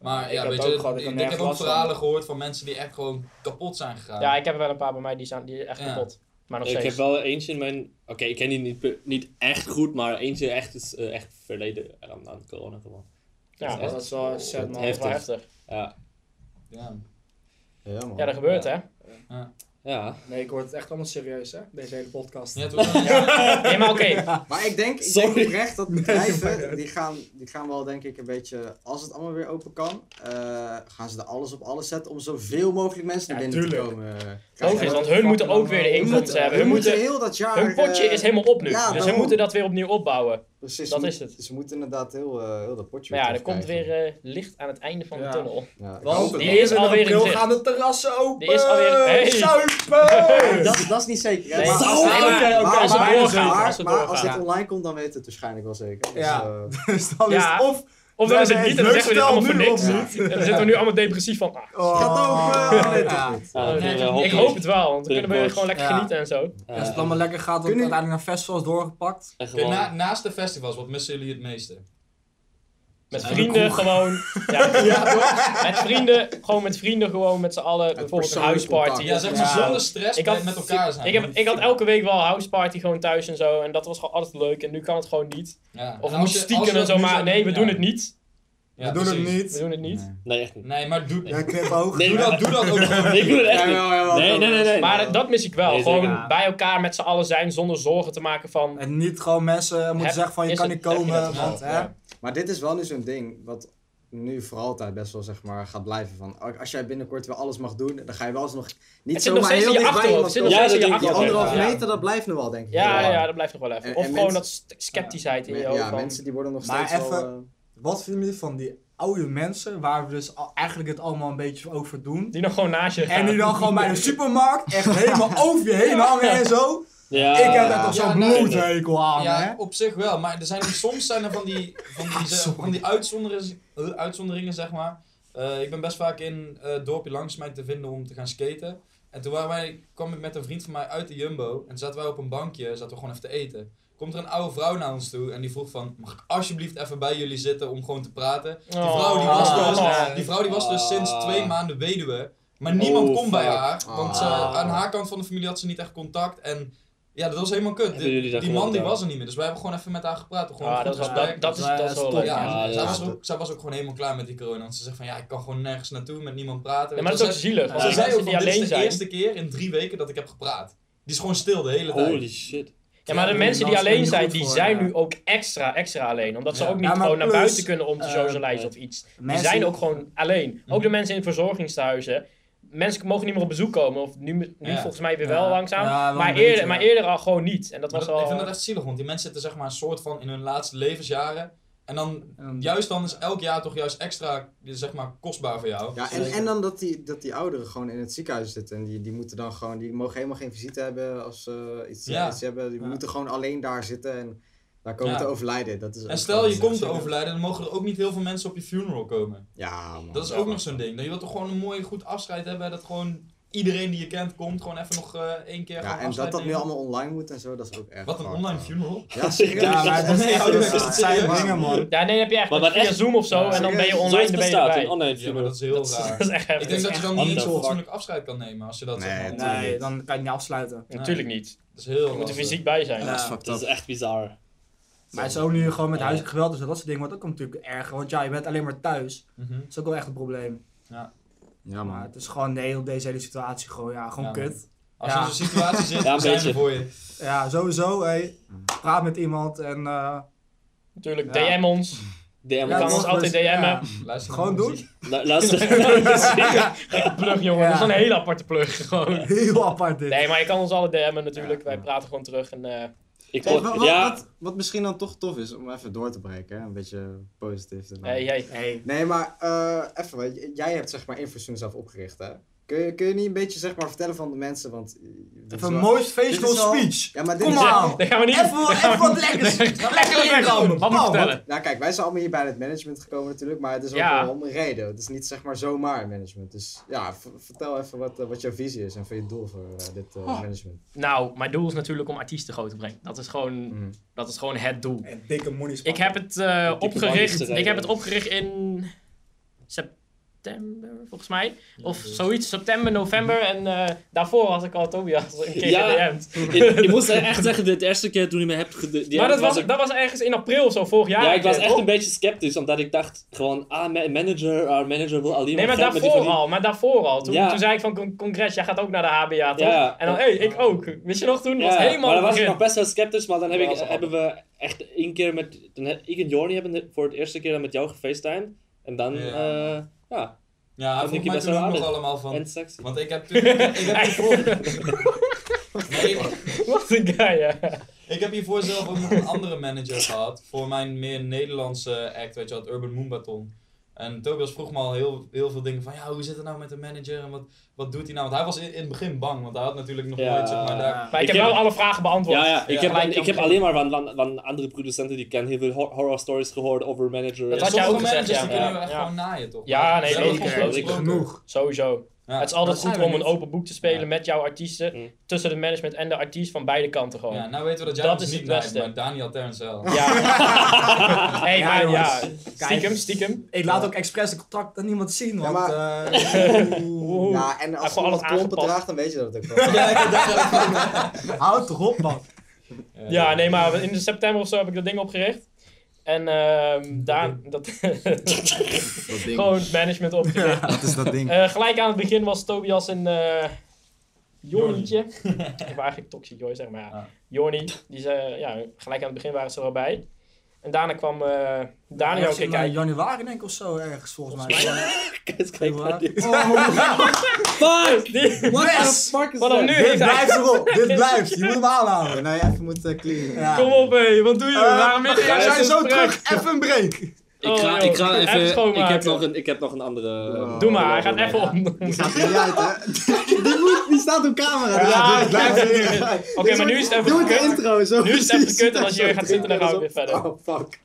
Speaker 2: Maar
Speaker 3: Ik
Speaker 2: ja,
Speaker 3: heb
Speaker 2: weet
Speaker 3: het
Speaker 2: je,
Speaker 3: ook gehad, ik
Speaker 2: ik,
Speaker 3: heb
Speaker 2: ik
Speaker 3: nergens
Speaker 2: heb ook
Speaker 3: last van.
Speaker 2: verhalen gehoord van mensen die echt gewoon kapot zijn gegaan.
Speaker 1: Ja, ik heb er wel een paar bij mij die zijn die echt
Speaker 2: Ja.
Speaker 1: kapot. Maar nog
Speaker 5: Ik
Speaker 1: steeds.
Speaker 5: heb wel eentje in mijn... Oké, ik ken die niet, per- niet echt goed, maar eentje echt is eh, echt verleden aan, aan corona gewoon.
Speaker 1: ja,
Speaker 5: echt-
Speaker 1: dat is wel sad, man. Dat is
Speaker 5: heftig.
Speaker 1: wel heftig.
Speaker 5: Ja,
Speaker 2: Ja.
Speaker 4: Ja, man.
Speaker 1: Ja, dat gebeurt, hè?
Speaker 5: ja.
Speaker 3: Nee, ik word het echt allemaal serieus, hè? Deze hele podcast.
Speaker 2: Ja, het wordt wel- ja.
Speaker 1: Nee, maar oké.
Speaker 4: Maar ik denk, ik
Speaker 5: Sorry.
Speaker 4: denk oprecht dat bedrijven, die gaan, die gaan wel denk ik een beetje, als het allemaal weer open kan, eh, gaan ze er alles op alles zetten om zoveel mogelijk mensen naar
Speaker 3: Ja,
Speaker 4: binnen
Speaker 3: tuurlijk.
Speaker 4: te komen. Eh,
Speaker 1: Logisch,
Speaker 3: Ja,
Speaker 1: want
Speaker 3: dat
Speaker 1: hun moeten
Speaker 3: fucking
Speaker 1: ook weer de
Speaker 3: allemaal-
Speaker 1: inkomsten hebben.
Speaker 4: we
Speaker 1: Hun, moeten,
Speaker 4: heel dat jaar...
Speaker 1: hun potje
Speaker 4: eh,
Speaker 1: is helemaal op nu.
Speaker 4: ja,
Speaker 1: dus ze
Speaker 4: daarom.
Speaker 1: moeten dat weer opnieuw opbouwen.
Speaker 4: precies,
Speaker 1: dat
Speaker 4: ze
Speaker 1: is
Speaker 4: moet-
Speaker 1: het.
Speaker 4: Ze moeten inderdaad heel, eh, heel dat potje
Speaker 1: Maar ja,
Speaker 4: weer
Speaker 1: er komt eh, weer
Speaker 4: terugkrijgen.
Speaker 1: eh, licht aan het einde van
Speaker 3: Ja.
Speaker 1: de tunnel.
Speaker 4: Ja, ik
Speaker 3: Want
Speaker 4: hoop het
Speaker 1: die
Speaker 4: wel.
Speaker 1: is alweer in
Speaker 3: april
Speaker 1: zicht.
Speaker 3: gaan de terrassen open!
Speaker 1: Die is alweer- Hey.
Speaker 3: Zuipen!
Speaker 4: dat, dat is niet zeker. hè,
Speaker 1: Nee,
Speaker 4: maar- Oh,
Speaker 1: maar-
Speaker 4: maar-
Speaker 1: nee, maar-
Speaker 3: oké, oké,
Speaker 4: maar-
Speaker 1: als het
Speaker 4: maar-
Speaker 1: doorgaat,
Speaker 4: maar-
Speaker 1: als het
Speaker 4: maar als
Speaker 1: doorgaat.
Speaker 4: dit online komt, dan weet het waarschijnlijk wel zeker. Dus,
Speaker 3: Ja.
Speaker 4: eh,
Speaker 6: Dus dan is
Speaker 1: Ja.
Speaker 6: het of...
Speaker 1: Of dan
Speaker 6: Ja,
Speaker 1: is het
Speaker 6: nee,
Speaker 1: niet en dan zeggen we dit
Speaker 6: leuk
Speaker 1: allemaal voor
Speaker 6: spel
Speaker 1: niks.
Speaker 6: nu,
Speaker 1: En
Speaker 6: of niet?
Speaker 1: dan zitten we nu allemaal depressief van. ah,
Speaker 6: Oh.
Speaker 4: Gaat open! Nee,
Speaker 6: Ja.
Speaker 4: toch niet.
Speaker 5: Ah,
Speaker 1: nee,
Speaker 5: eh,
Speaker 1: ik
Speaker 5: hockey.
Speaker 1: hoop het wel, want dan
Speaker 5: Drink
Speaker 1: kunnen we
Speaker 5: boys.
Speaker 1: gewoon lekker
Speaker 6: Ja.
Speaker 1: genieten en zo.
Speaker 5: Eh,
Speaker 3: Als het allemaal lekker gaat, wordt
Speaker 4: Kunnen-
Speaker 3: het uiteindelijk naar festivals doorgepakt.
Speaker 5: en
Speaker 2: Oké,
Speaker 5: gewoon-
Speaker 2: na, naast de festivals, wat missen jullie het meeste?
Speaker 1: Met
Speaker 2: Ja, de
Speaker 1: vrienden gewoon. Ja, Met vrienden, gewoon met vrienden, gewoon met z'n allen. Bijvoorbeeld een
Speaker 4: persoonlijk
Speaker 1: huisparty.
Speaker 4: contact.
Speaker 2: Ja, zeg maar
Speaker 1: Ja.
Speaker 2: zonder stress
Speaker 1: Ik had-
Speaker 2: met elkaar zijn.
Speaker 1: Ik, heb, ik had elke week wel een houseparty gewoon thuis en zo. En dat was gewoon altijd leuk. En nu kan het gewoon niet.
Speaker 2: Ja.
Speaker 1: Of
Speaker 2: En
Speaker 1: het
Speaker 2: als
Speaker 1: moet
Speaker 2: je-
Speaker 1: stiekem
Speaker 2: als je
Speaker 1: en
Speaker 2: dat
Speaker 1: zo.
Speaker 2: nu
Speaker 1: Maar
Speaker 2: zou
Speaker 1: nee, we
Speaker 2: ja.
Speaker 1: doen het niet.
Speaker 2: Ja,
Speaker 6: we doen
Speaker 2: precies.
Speaker 6: het
Speaker 1: We
Speaker 6: niet.
Speaker 1: doen het niet.
Speaker 5: Nee, echt niet.
Speaker 2: Nee, maar doe,
Speaker 6: Ja, knip oog.
Speaker 5: Nee,
Speaker 2: doe, dat, doe dat ook gewoon.
Speaker 5: Ik doe het echt niet.
Speaker 4: Jawel, jawel,
Speaker 5: Nee,
Speaker 4: jawel.
Speaker 5: nee, nee, nee.
Speaker 1: Maar dat mis ik wel.
Speaker 5: Nee,
Speaker 1: gewoon
Speaker 5: zeker.
Speaker 3: Ja.
Speaker 1: bij elkaar met z'n allen zijn zonder zorgen te maken van...
Speaker 6: En niet gewoon mensen moeten
Speaker 1: Heb-
Speaker 6: zeggen van je
Speaker 1: is
Speaker 6: kan
Speaker 1: het-
Speaker 6: niet
Speaker 1: heb je dat
Speaker 6: komen,
Speaker 1: wel?
Speaker 6: want hè.
Speaker 2: Ja.
Speaker 4: Maar dit is wel nu zo'n ding wat nu voor altijd best wel zeg maar gaat blijven van a- als jij binnenkort weer alles mag doen, dan ga je wel eens nog
Speaker 1: Het
Speaker 4: niet
Speaker 1: zit nog
Speaker 4: zomaar
Speaker 1: steeds
Speaker 4: heel
Speaker 1: in je
Speaker 4: dicht bij
Speaker 1: achterhoofd.
Speaker 4: iemand
Speaker 1: Het zit nog
Speaker 5: Ja,
Speaker 4: komen.
Speaker 1: steeds in je
Speaker 5: dat denk ik
Speaker 4: Die
Speaker 5: ook,
Speaker 1: achterhoofd.
Speaker 4: anderhalve
Speaker 1: Ja.
Speaker 4: meter, dat blijft nog wel denk ik.
Speaker 1: Ja, ja,
Speaker 4: Wel.
Speaker 1: ja, dat blijft nog wel even.
Speaker 4: En-
Speaker 1: Of
Speaker 4: en
Speaker 1: gewoon
Speaker 4: mensen-
Speaker 1: dat st- sceptischheid in je
Speaker 4: Ja,
Speaker 1: hoofd. van-
Speaker 4: mensen die worden nog
Speaker 6: Maar
Speaker 4: steeds wel... eh,
Speaker 6: even- Wat vinden jullie van die oude mensen waar we dus al- eigenlijk het allemaal een beetje over doen?
Speaker 1: Die nog gewoon naast je gaan.
Speaker 6: En die dan gewoon bij de supermarkt echt helemaal over je heen hangen en zo.
Speaker 5: Ja,
Speaker 6: ik heb daar toch
Speaker 2: Ja,
Speaker 6: zo'n
Speaker 2: nou,
Speaker 6: bloedhekel aan, hè?
Speaker 2: Ja, op zich wel, maar er zijn, soms zijn er van die, van die, ze- van die uitzonderingen, eh, uitzonderingen, zeg maar. Eh, ik ben best vaak in eh, het dorpje langs mij te vinden om te gaan skaten. En toen waren wij, kwam ik met een vriend van mij uit de Jumbo en zaten wij op een bankje, zaten we gewoon even te eten. Komt er een oude vrouw naar ons toe en die vroeg van, mag ik alsjeblieft even bij jullie zitten om gewoon te praten? Die vrouw die was
Speaker 1: Oh.
Speaker 2: dus, die vrouw die was dus sinds twee maanden weduwe. Maar niemand
Speaker 5: Oh,
Speaker 2: kon bij
Speaker 5: fuck.
Speaker 2: haar, want ze-
Speaker 1: Ah.
Speaker 2: aan haar kant van de familie had ze niet echt contact. En ja, dat was helemaal kut.
Speaker 5: Hebben
Speaker 2: Die-
Speaker 5: jullie dat
Speaker 2: die man die
Speaker 5: gedaan?
Speaker 2: was er niet meer, dus wij hebben gewoon even met haar gepraat. Gewoon
Speaker 1: Ah,
Speaker 2: een
Speaker 1: dat,
Speaker 2: goed
Speaker 1: was, dat,
Speaker 2: gesprek.
Speaker 1: dat, is, dat is wel
Speaker 3: Top.
Speaker 1: leuk.
Speaker 2: Ja,
Speaker 5: Ja,
Speaker 2: zij,
Speaker 5: ja.
Speaker 2: was ook, zij was ook gewoon helemaal klaar met die corona. Want ze zegt van ja, ik kan gewoon nergens naartoe met niemand praten.
Speaker 1: Ja, maar
Speaker 2: Weet
Speaker 1: dat
Speaker 2: je,
Speaker 1: is ook zielig. Want
Speaker 2: ze
Speaker 1: die
Speaker 2: zei
Speaker 1: mensen
Speaker 2: ook
Speaker 1: die
Speaker 2: van dit is
Speaker 1: alleen
Speaker 2: de
Speaker 1: zijn...
Speaker 2: eerste keer in drie weken dat ik heb gepraat. Die is gewoon stil de hele tijd.
Speaker 5: Holy shit.
Speaker 1: Ja, maar de
Speaker 3: Ja,
Speaker 1: mensen die
Speaker 3: dat is
Speaker 1: alleen
Speaker 3: niet
Speaker 1: zijn,
Speaker 3: goed
Speaker 1: die
Speaker 3: voor,
Speaker 1: zijn
Speaker 3: ja.
Speaker 1: nu ook extra, extra alleen. Omdat ze
Speaker 2: Ja.
Speaker 1: ook niet
Speaker 6: Ja, maar
Speaker 1: gewoon naar
Speaker 6: plus,
Speaker 1: buiten kunnen om te
Speaker 6: eh,
Speaker 1: socializen of iets. Die
Speaker 6: mensen-
Speaker 1: zijn ook gewoon alleen. Ook de mensen in verzorgingstehuizen. Mensen mogen niet meer op bezoek komen. Of nu, nu
Speaker 2: Ja.
Speaker 1: volgens mij weer
Speaker 3: Ja.
Speaker 1: wel langzaam.
Speaker 6: Ja, wel een
Speaker 1: maar,
Speaker 6: beetje,
Speaker 1: eerder,
Speaker 6: ja.
Speaker 1: maar eerder al gewoon niet. En dat
Speaker 2: Maar
Speaker 1: was
Speaker 2: dat, ik vind dat
Speaker 1: al...
Speaker 2: echt zielig, want die mensen zitten zeg maar een soort van in hun laatste levensjaren. En dan,
Speaker 3: En dan-
Speaker 2: juist dan is elk jaar toch juist extra, zeg maar, kostbaar voor jou.
Speaker 4: Ja, en, en dan dat die, dat die ouderen gewoon in het ziekenhuis zitten. En die, die moeten dan gewoon, die mogen helemaal geen visite hebben als ze iets,
Speaker 2: Ja.
Speaker 4: iets hebben. Die
Speaker 2: Ja.
Speaker 4: moeten gewoon alleen daar zitten en daar komen
Speaker 2: Ja.
Speaker 4: te overlijden. Dat is ook
Speaker 2: En stel
Speaker 4: gewoon
Speaker 2: je
Speaker 4: zo.
Speaker 2: komt te overlijden, dan mogen er ook niet heel veel mensen op je funeral komen.
Speaker 4: Ja, man.
Speaker 2: Dat is ook nog zo'n ding. Dan je wilt toch gewoon een mooi goed afscheid hebben. Dat gewoon iedereen die je kent komt, gewoon even nog eh, één keer
Speaker 4: Ja,
Speaker 2: gewoon
Speaker 4: en
Speaker 2: afscheid
Speaker 4: dat dat nu
Speaker 2: nemen.
Speaker 4: allemaal online moet en zo, dat is ook echt
Speaker 2: Wat een
Speaker 4: hard,
Speaker 2: online
Speaker 4: man.
Speaker 2: funeral.
Speaker 4: Ja, oh, serieus.
Speaker 3: Ja, maar dat
Speaker 2: Nee,
Speaker 3: is
Speaker 2: hou je
Speaker 3: echt
Speaker 2: bek,
Speaker 3: dat
Speaker 2: is
Speaker 3: zijn
Speaker 2: serieus.
Speaker 3: dingen, man.
Speaker 1: Ja, nee, dan heb je echt
Speaker 5: Maar
Speaker 1: een
Speaker 5: wat
Speaker 1: via
Speaker 5: echt-
Speaker 1: Zoom of zo en
Speaker 3: Ja.
Speaker 1: dan ben je
Speaker 4: Serieus?
Speaker 1: online
Speaker 5: Zoiets
Speaker 1: er ben je
Speaker 5: bestaat, oh, een
Speaker 1: bij.
Speaker 5: online
Speaker 2: Ja, maar
Speaker 5: funeral.
Speaker 2: dat is heel
Speaker 1: Dat
Speaker 2: raar.
Speaker 1: is echt heftig.
Speaker 2: Ik denk dat je dan
Speaker 5: What
Speaker 2: niet eens
Speaker 5: the
Speaker 2: een
Speaker 5: fuck?
Speaker 2: fatsoenlijk afscheid kan nemen als je dat
Speaker 4: Nee,
Speaker 2: zeg maar,
Speaker 4: het-
Speaker 2: doet.
Speaker 3: Nee, dan kan je het niet afsluiten.
Speaker 1: Natuurlijk niet.
Speaker 2: Dat is heel
Speaker 1: Je moet er
Speaker 2: lastig.
Speaker 1: fysiek bij zijn.
Speaker 3: Ja.
Speaker 1: Ja.
Speaker 5: Dat is echt bizar.
Speaker 3: Maar het is ook nu gewoon met
Speaker 5: Ja.
Speaker 3: huiselijk geweld en zo, dat soort dingen wordt ook natuurlijk erger. Want ja, je bent alleen maar thuis.
Speaker 2: Mhm.
Speaker 3: Dat is ook wel echt een probleem. Maar
Speaker 4: Ja, man.
Speaker 3: het is gewoon de hele, deze hele situatie gewoon, ja, gewoon
Speaker 2: Ja, man.
Speaker 3: kut.
Speaker 2: Als
Speaker 3: Ja.
Speaker 2: je in zo'n situatie zit,
Speaker 5: Ja,
Speaker 2: dan
Speaker 5: een
Speaker 2: zijn
Speaker 5: beetje.
Speaker 2: we voor je.
Speaker 3: Ja, sowieso, hé. Praat met iemand en... eh,
Speaker 1: Natuurlijk,
Speaker 3: Ja.
Speaker 1: DM ons.
Speaker 5: DM
Speaker 1: kan
Speaker 3: ja,
Speaker 1: ons
Speaker 3: dat
Speaker 5: ons.
Speaker 3: is-
Speaker 1: altijd
Speaker 3: dus-
Speaker 1: DM'en.
Speaker 3: ja.
Speaker 2: Luister
Speaker 3: Gewoon
Speaker 2: naar
Speaker 3: doen.
Speaker 2: muziek.
Speaker 5: La- Luister.
Speaker 1: Plug, jongen.
Speaker 3: Ja.
Speaker 1: Dat is een hele aparte plug. Gewoon.
Speaker 3: Heel apart dit.
Speaker 1: Nee, maar je kan ons alle DM'en natuurlijk.
Speaker 4: Ja.
Speaker 1: Wij praten gewoon terug. En, eh,
Speaker 5: Ik
Speaker 4: Hey, wa-
Speaker 5: hoor-
Speaker 4: wa-
Speaker 5: ja,
Speaker 4: wat, wat misschien dan toch tof is, om even door te breken, hè? een beetje positief te maken.
Speaker 1: hey, hey.
Speaker 3: Hey.
Speaker 4: Nee, maar eh, even, want j- jij hebt zeg maar Infrasoon zelf opgericht, hè? Kun je, kun je niet een beetje zeg maar vertellen van de mensen, want... eh, dit is
Speaker 3: Even een
Speaker 4: wel-
Speaker 3: mooi
Speaker 4: dit
Speaker 3: facial
Speaker 4: is wel-
Speaker 3: speech.
Speaker 4: Ja, maar dit
Speaker 3: Kom
Speaker 4: is wel-
Speaker 3: aan.
Speaker 1: Daar gaan we niet...
Speaker 3: Even,
Speaker 1: daar gaan
Speaker 3: even
Speaker 1: we-
Speaker 3: wat lekkers.
Speaker 1: Ga lekker
Speaker 3: Lekker inkomen.
Speaker 1: inkomen. Wat moet ik
Speaker 3: Oh, wat-
Speaker 1: vertellen?
Speaker 4: Nou kijk, wij zijn allemaal hier bij het management gekomen natuurlijk, maar het is ook
Speaker 1: Ja.
Speaker 4: wel om een reden. Het is niet zeg maar zomaar management. Dus ja, v- vertel even wat, eh, wat jouw visie is en voor je doel voor eh, dit eh,
Speaker 3: Oh.
Speaker 4: management.
Speaker 1: Nou, mijn doel is natuurlijk om artiesten groot te brengen. Dat is gewoon,
Speaker 4: Mhm.
Speaker 1: dat is gewoon het doel.
Speaker 3: En dikke monies.
Speaker 1: Ik heb het eh,
Speaker 5: Die
Speaker 1: opgericht.
Speaker 5: bandenstrijden.
Speaker 1: Ik heb het opgericht in september, volgens mij. Of
Speaker 5: dus-
Speaker 1: zoiets, september, november. En eh, daarvoor had ik al Tobias een keer
Speaker 5: Ja.
Speaker 1: gedm'd.
Speaker 5: ik, ik moest echt zeggen, de eerste keer toen je me hebt gedm'd,
Speaker 1: maar dat was,
Speaker 5: ik,
Speaker 1: dat was ergens in april of zo, vorig jaar.
Speaker 5: ja, ik was echt
Speaker 1: toch?
Speaker 5: een beetje sceptisch, omdat ik dacht gewoon, ah, ma- manager, ah, manager wil alleen
Speaker 1: Nee, maar
Speaker 5: geld met die
Speaker 1: daarvoor
Speaker 5: familie.
Speaker 1: al. Maar daarvoor al. Toen,
Speaker 5: Ja.
Speaker 1: toen zei ik van con- congres, jij gaat ook naar de HBA, toch?
Speaker 5: Ja.
Speaker 1: en dan, hé, hey, ik ook. Wist je nog toen? was
Speaker 5: Ja,
Speaker 1: helemaal
Speaker 5: maar dan
Speaker 1: het
Speaker 5: was ik
Speaker 1: begin.
Speaker 5: nog best wel sceptisch, maar dan heb
Speaker 1: Ja,
Speaker 5: ik,
Speaker 1: dat is wel
Speaker 5: hebben we echt één keer met, dan heb, ik en Jorni hebben het voor het eerste keer dan met jou gefacetimed. En dan, eh,
Speaker 2: Ja.
Speaker 5: ja, ja
Speaker 2: Ja, hij
Speaker 5: Dat
Speaker 2: vroeg
Speaker 5: Nicky
Speaker 2: mij
Speaker 5: best
Speaker 2: toen
Speaker 5: wel
Speaker 2: ook nog
Speaker 5: aardig.
Speaker 2: allemaal van...
Speaker 5: en sexy.
Speaker 2: Want ik heb toen... Ik heb hiervoor... Nee,
Speaker 1: Wat een guy, ja.
Speaker 2: Ik heb hiervoor zelf ook nog een andere manager gehad. Voor mijn meer Nederlandse act, weet je wel, het Urban Moon Baton. En Tobias vroeg me al heel, heel veel dingen van, ja, hoe zit het nou met de manager en wat, wat doet hij nou? Want hij was in, in het begin bang, want hij had natuurlijk nog
Speaker 5: Ja.
Speaker 2: nooit, zeg maar, daar...
Speaker 1: Maar ik,
Speaker 5: Ik
Speaker 1: heb
Speaker 5: heb-
Speaker 1: wel alle vragen beantwoord.
Speaker 5: Ja, ja, ik
Speaker 2: Ja.
Speaker 5: heb,
Speaker 1: Gelijk
Speaker 5: ik heb
Speaker 1: dan-
Speaker 5: alleen maar van, van, van andere producenten die ik ken heel veel hor- horror stories gehoord over manager.
Speaker 1: Dat
Speaker 2: Ja,
Speaker 1: had jij
Speaker 2: sommige
Speaker 1: ook gezegd,
Speaker 2: managers die
Speaker 1: ja.
Speaker 2: kunnen
Speaker 1: Ja,
Speaker 2: echt
Speaker 1: ja.
Speaker 2: gewoon naaien, toch?
Speaker 1: Ja,
Speaker 2: Maar
Speaker 1: nee,
Speaker 2: zelf
Speaker 1: zeker.
Speaker 2: gewoon
Speaker 5: Zeker.
Speaker 2: gesproken.
Speaker 3: genoeg.
Speaker 1: Sowieso.
Speaker 2: Ja.
Speaker 1: Het is altijd
Speaker 2: Dat zijn
Speaker 1: goed
Speaker 2: we
Speaker 1: om een
Speaker 2: niet.
Speaker 1: open boek te spelen
Speaker 2: Ja.
Speaker 1: met jouw artiesten.
Speaker 5: Mm.
Speaker 1: Tussen het management en de artiest van beide kanten gewoon.
Speaker 2: Ja,
Speaker 1: Ja.
Speaker 2: nou weten we dat jij
Speaker 1: Dat
Speaker 2: dat
Speaker 1: is
Speaker 2: niet
Speaker 1: het
Speaker 2: naait,
Speaker 1: beste.
Speaker 2: maar Daniel Terns wel.
Speaker 1: hey,
Speaker 3: Ja,
Speaker 1: maar ja.
Speaker 3: jongens.
Speaker 1: Stiekem, stiekem.
Speaker 3: Ik laat ook expres het contract aan niemand zien,
Speaker 4: Ja,
Speaker 3: want... eh, oeh,
Speaker 1: Oeh.
Speaker 4: Ja, en
Speaker 1: Heb
Speaker 4: als je
Speaker 1: gewoon alles
Speaker 4: iemand klompen
Speaker 1: aangepast.
Speaker 4: draagt, dan weet je dat ook wel.
Speaker 2: Ja, ik heb daar ook van.
Speaker 3: Houd toch op, man.
Speaker 1: Ja, nee, maar in september of zo heb ik dat ding opgericht. En ehm daar... Dat,
Speaker 4: dat ding.
Speaker 1: gewoon het management opgericht.
Speaker 4: Dat is dat ding.
Speaker 1: Eh, gelijk aan het begin was Tobias een... eh Jornietje. Ik wou eigenlijk Toxic Joy zeggen, maar ja.
Speaker 2: Ah.
Speaker 1: Jorni, die ze, ja, gelijk aan het begin waren ze er al bij. En daarna kwam eh Daniel
Speaker 3: Ergens
Speaker 1: ook
Speaker 3: in,
Speaker 1: kijken.
Speaker 3: eh, januari denk ik of zo, ergens volgens mij.
Speaker 5: Kijk, kijk wat die-
Speaker 1: Fuck! Die-
Speaker 3: Yes!
Speaker 1: Vanaf nu
Speaker 3: Dit
Speaker 1: heeft hij...
Speaker 3: blijft erop, dit blijft. Je moet hem aanhouden.
Speaker 4: Nou, je even moet eh, clean.
Speaker 3: Ja.
Speaker 1: Kom op, hé, wat doe je?
Speaker 3: Eh,
Speaker 1: Waarom ben je
Speaker 3: We zijn
Speaker 1: ergens
Speaker 3: zo
Speaker 1: op terug?
Speaker 3: terug, even een break.
Speaker 5: Ik ga,
Speaker 1: Oh,
Speaker 5: ik ga
Speaker 1: joh. Even
Speaker 5: even, ik
Speaker 1: schoonmaken.
Speaker 5: heb nog een, ik heb nog een andere.
Speaker 4: Wow.
Speaker 1: Doe maar, hij gaat even om.
Speaker 4: Die gaat er niet uit, hè? Die, moet, die staat op camera. dus
Speaker 1: Ja,
Speaker 3: Ah,
Speaker 4: dit blijft
Speaker 1: dit-
Speaker 4: erin.
Speaker 1: Oké, maar nu is het even
Speaker 4: Doe het
Speaker 1: gekut.
Speaker 4: intro, zo.
Speaker 1: Nu is het even
Speaker 4: precies.
Speaker 1: gekut en als jullie gaat zitten, dan gaan we weer verder. Oh
Speaker 4: Oh, fuck.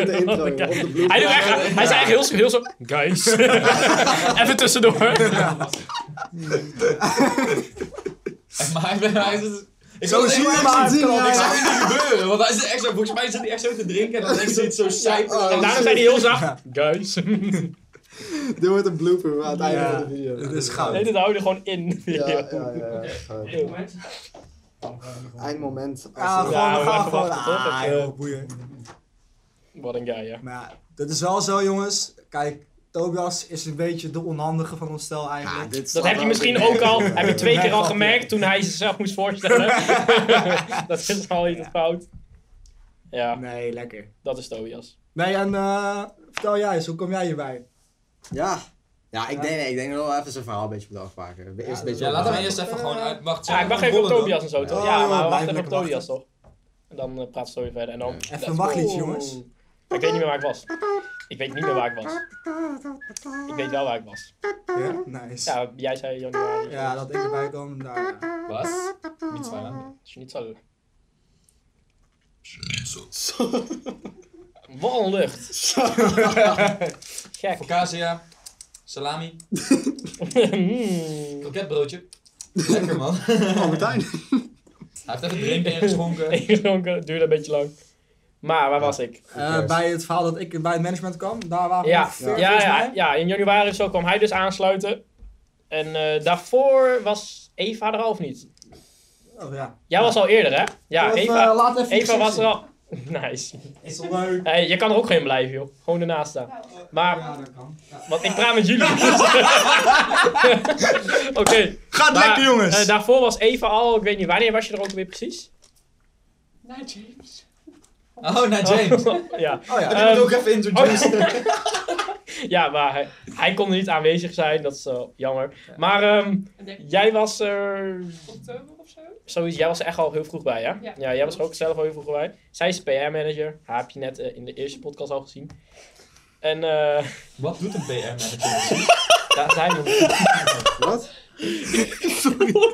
Speaker 4: het intro, op de bloed.
Speaker 1: Hij, doet echt, hij is eigenlijk heel, zo- heel zo... Guys. even tussendoor.
Speaker 2: Maar hij, hij is... Ik
Speaker 3: Zo
Speaker 2: wil
Speaker 3: zie
Speaker 2: even-
Speaker 3: je maar.
Speaker 4: zien, ja.
Speaker 2: Ik zag het niet gebeuren, want hij zit echt zo, volgens mij zit hij echt zo te drinken en dan denkt hij het zo
Speaker 4: Ja,
Speaker 2: cijfer.
Speaker 4: oh,
Speaker 1: En daarna zei hij heel zacht... Guys.
Speaker 4: Dit wordt een blooper aan het einde
Speaker 3: Ja.
Speaker 4: van de video.
Speaker 3: Dit is goud.
Speaker 1: Nee, dit hou je er gewoon in.
Speaker 4: Ja, ja, ja. ja, ja. Eindmoment.
Speaker 3: Ja,
Speaker 4: Als-
Speaker 3: gewoon,
Speaker 1: Ja,
Speaker 3: we gaan
Speaker 1: even
Speaker 3: gewoon.
Speaker 1: wachten, toch?
Speaker 3: Ah,
Speaker 1: Dat, eh,
Speaker 3: joh, boeien.
Speaker 1: Wat een guy, ja.
Speaker 3: Maar ja, dat is wel zo, jongens. Kijk, Tobias is een beetje de onhandige van ons stel
Speaker 4: Ja,
Speaker 3: eigenlijk.
Speaker 4: dit is
Speaker 1: Dat
Speaker 4: wel
Speaker 1: heb je
Speaker 4: wel
Speaker 1: misschien
Speaker 4: een-
Speaker 1: ook al, heb je twee keer al
Speaker 3: Ja.
Speaker 1: gemerkt toen hij zichzelf moest voorstellen. dat is al iets fout. Ja,
Speaker 3: Nee, lekker.
Speaker 1: dat is Tobias.
Speaker 3: Nee, en eh, vertel jij eens, hoe kom jij hierbij?
Speaker 4: Ja. Ja, ik
Speaker 3: Ja.
Speaker 4: denk, nee, ik denk dat we wel even zijn verhaal een beetje moeten afmaken. De eerste
Speaker 3: Ja,
Speaker 4: beetje
Speaker 2: Ja, laten we
Speaker 4: opmaken.
Speaker 2: eerst even gewoon uit. Wacht,
Speaker 1: Ja, ik wacht
Speaker 2: zeg,
Speaker 1: even op
Speaker 2: rollen
Speaker 1: Tobias en zo, toch?
Speaker 3: Ja.
Speaker 1: Ja, maar
Speaker 3: Oh, blijf
Speaker 1: wacht even op
Speaker 3: lekker
Speaker 1: Tobias, toch? En dan eh, praat Story verder. En dan,
Speaker 3: Even een wachtliedje, jongens.
Speaker 1: Ik weet niet meer waar ik was. Ik weet niet meer waar ik was. Ik weet wel waar ik was.
Speaker 6: Ja, nice. Ja,
Speaker 1: Ja, jij zei januari.
Speaker 6: dat ik erbij kwam. Daar, ja.
Speaker 2: Was? Niet zwaar.
Speaker 1: Als je niet zo...
Speaker 5: Zo.
Speaker 1: Wat een lucht. Gek.
Speaker 2: Focaccia, salami,
Speaker 1: Mm.
Speaker 2: kroketbroodje. Lekker man.
Speaker 4: Oh, Martijn.
Speaker 2: Hij heeft even drinken ingeschonken.
Speaker 1: Ik dronken, het duurde een beetje lang. Maar waar was ik?
Speaker 6: Eh, bij het verhaal dat ik bij het management kwam, daar waren we
Speaker 1: Ja,
Speaker 6: ongeveer,
Speaker 1: ja,
Speaker 6: volgens
Speaker 1: ja,
Speaker 6: mij.
Speaker 1: ja, in januari of zo kwam hij dus aansluiten. En eh, daarvoor was Eva er al of niet?
Speaker 6: Oh, ja.
Speaker 1: Jij was al eerder, hè? Ja,
Speaker 6: Of,
Speaker 1: Eva,
Speaker 6: eh, laat even
Speaker 1: Eva
Speaker 6: iets
Speaker 1: was er
Speaker 6: zien.
Speaker 1: al. Nice.
Speaker 6: Is wel leuk.
Speaker 1: Hey, je kan er ook geen blijven, joh. Gewoon ernaast staan.
Speaker 7: Nou,
Speaker 1: Maar,
Speaker 6: Ja, dat kan. Ja.
Speaker 1: want ik praat met jullie. dus- Oké.
Speaker 4: Gaat
Speaker 1: maar,
Speaker 4: lekker, jongens.
Speaker 1: eh, daarvoor was Eva al, ik weet niet wanneer was je er ook weer precies?
Speaker 7: Nou, James.
Speaker 2: Oh, naar James.
Speaker 1: ja.
Speaker 6: Oh ja.
Speaker 2: Dat moet
Speaker 1: Ehm,
Speaker 2: ook even introduceren.
Speaker 1: ja, maar hij, hij kon er niet aanwezig zijn, dat is eh, jammer. Maar ehm,
Speaker 7: En denk ik
Speaker 1: jij was er
Speaker 7: oktober of zo?
Speaker 1: Zoiets, jij was er echt al heel vroeg bij, hè?
Speaker 7: Ja.
Speaker 1: jij was er ook zelf al heel vroeg bij. Zij is PR-manager. Haar heb je net eh, in de eerste podcast al gezien. En eh
Speaker 2: Wat doet een nou PR-manager?
Speaker 1: daar zijn we.
Speaker 4: Wat?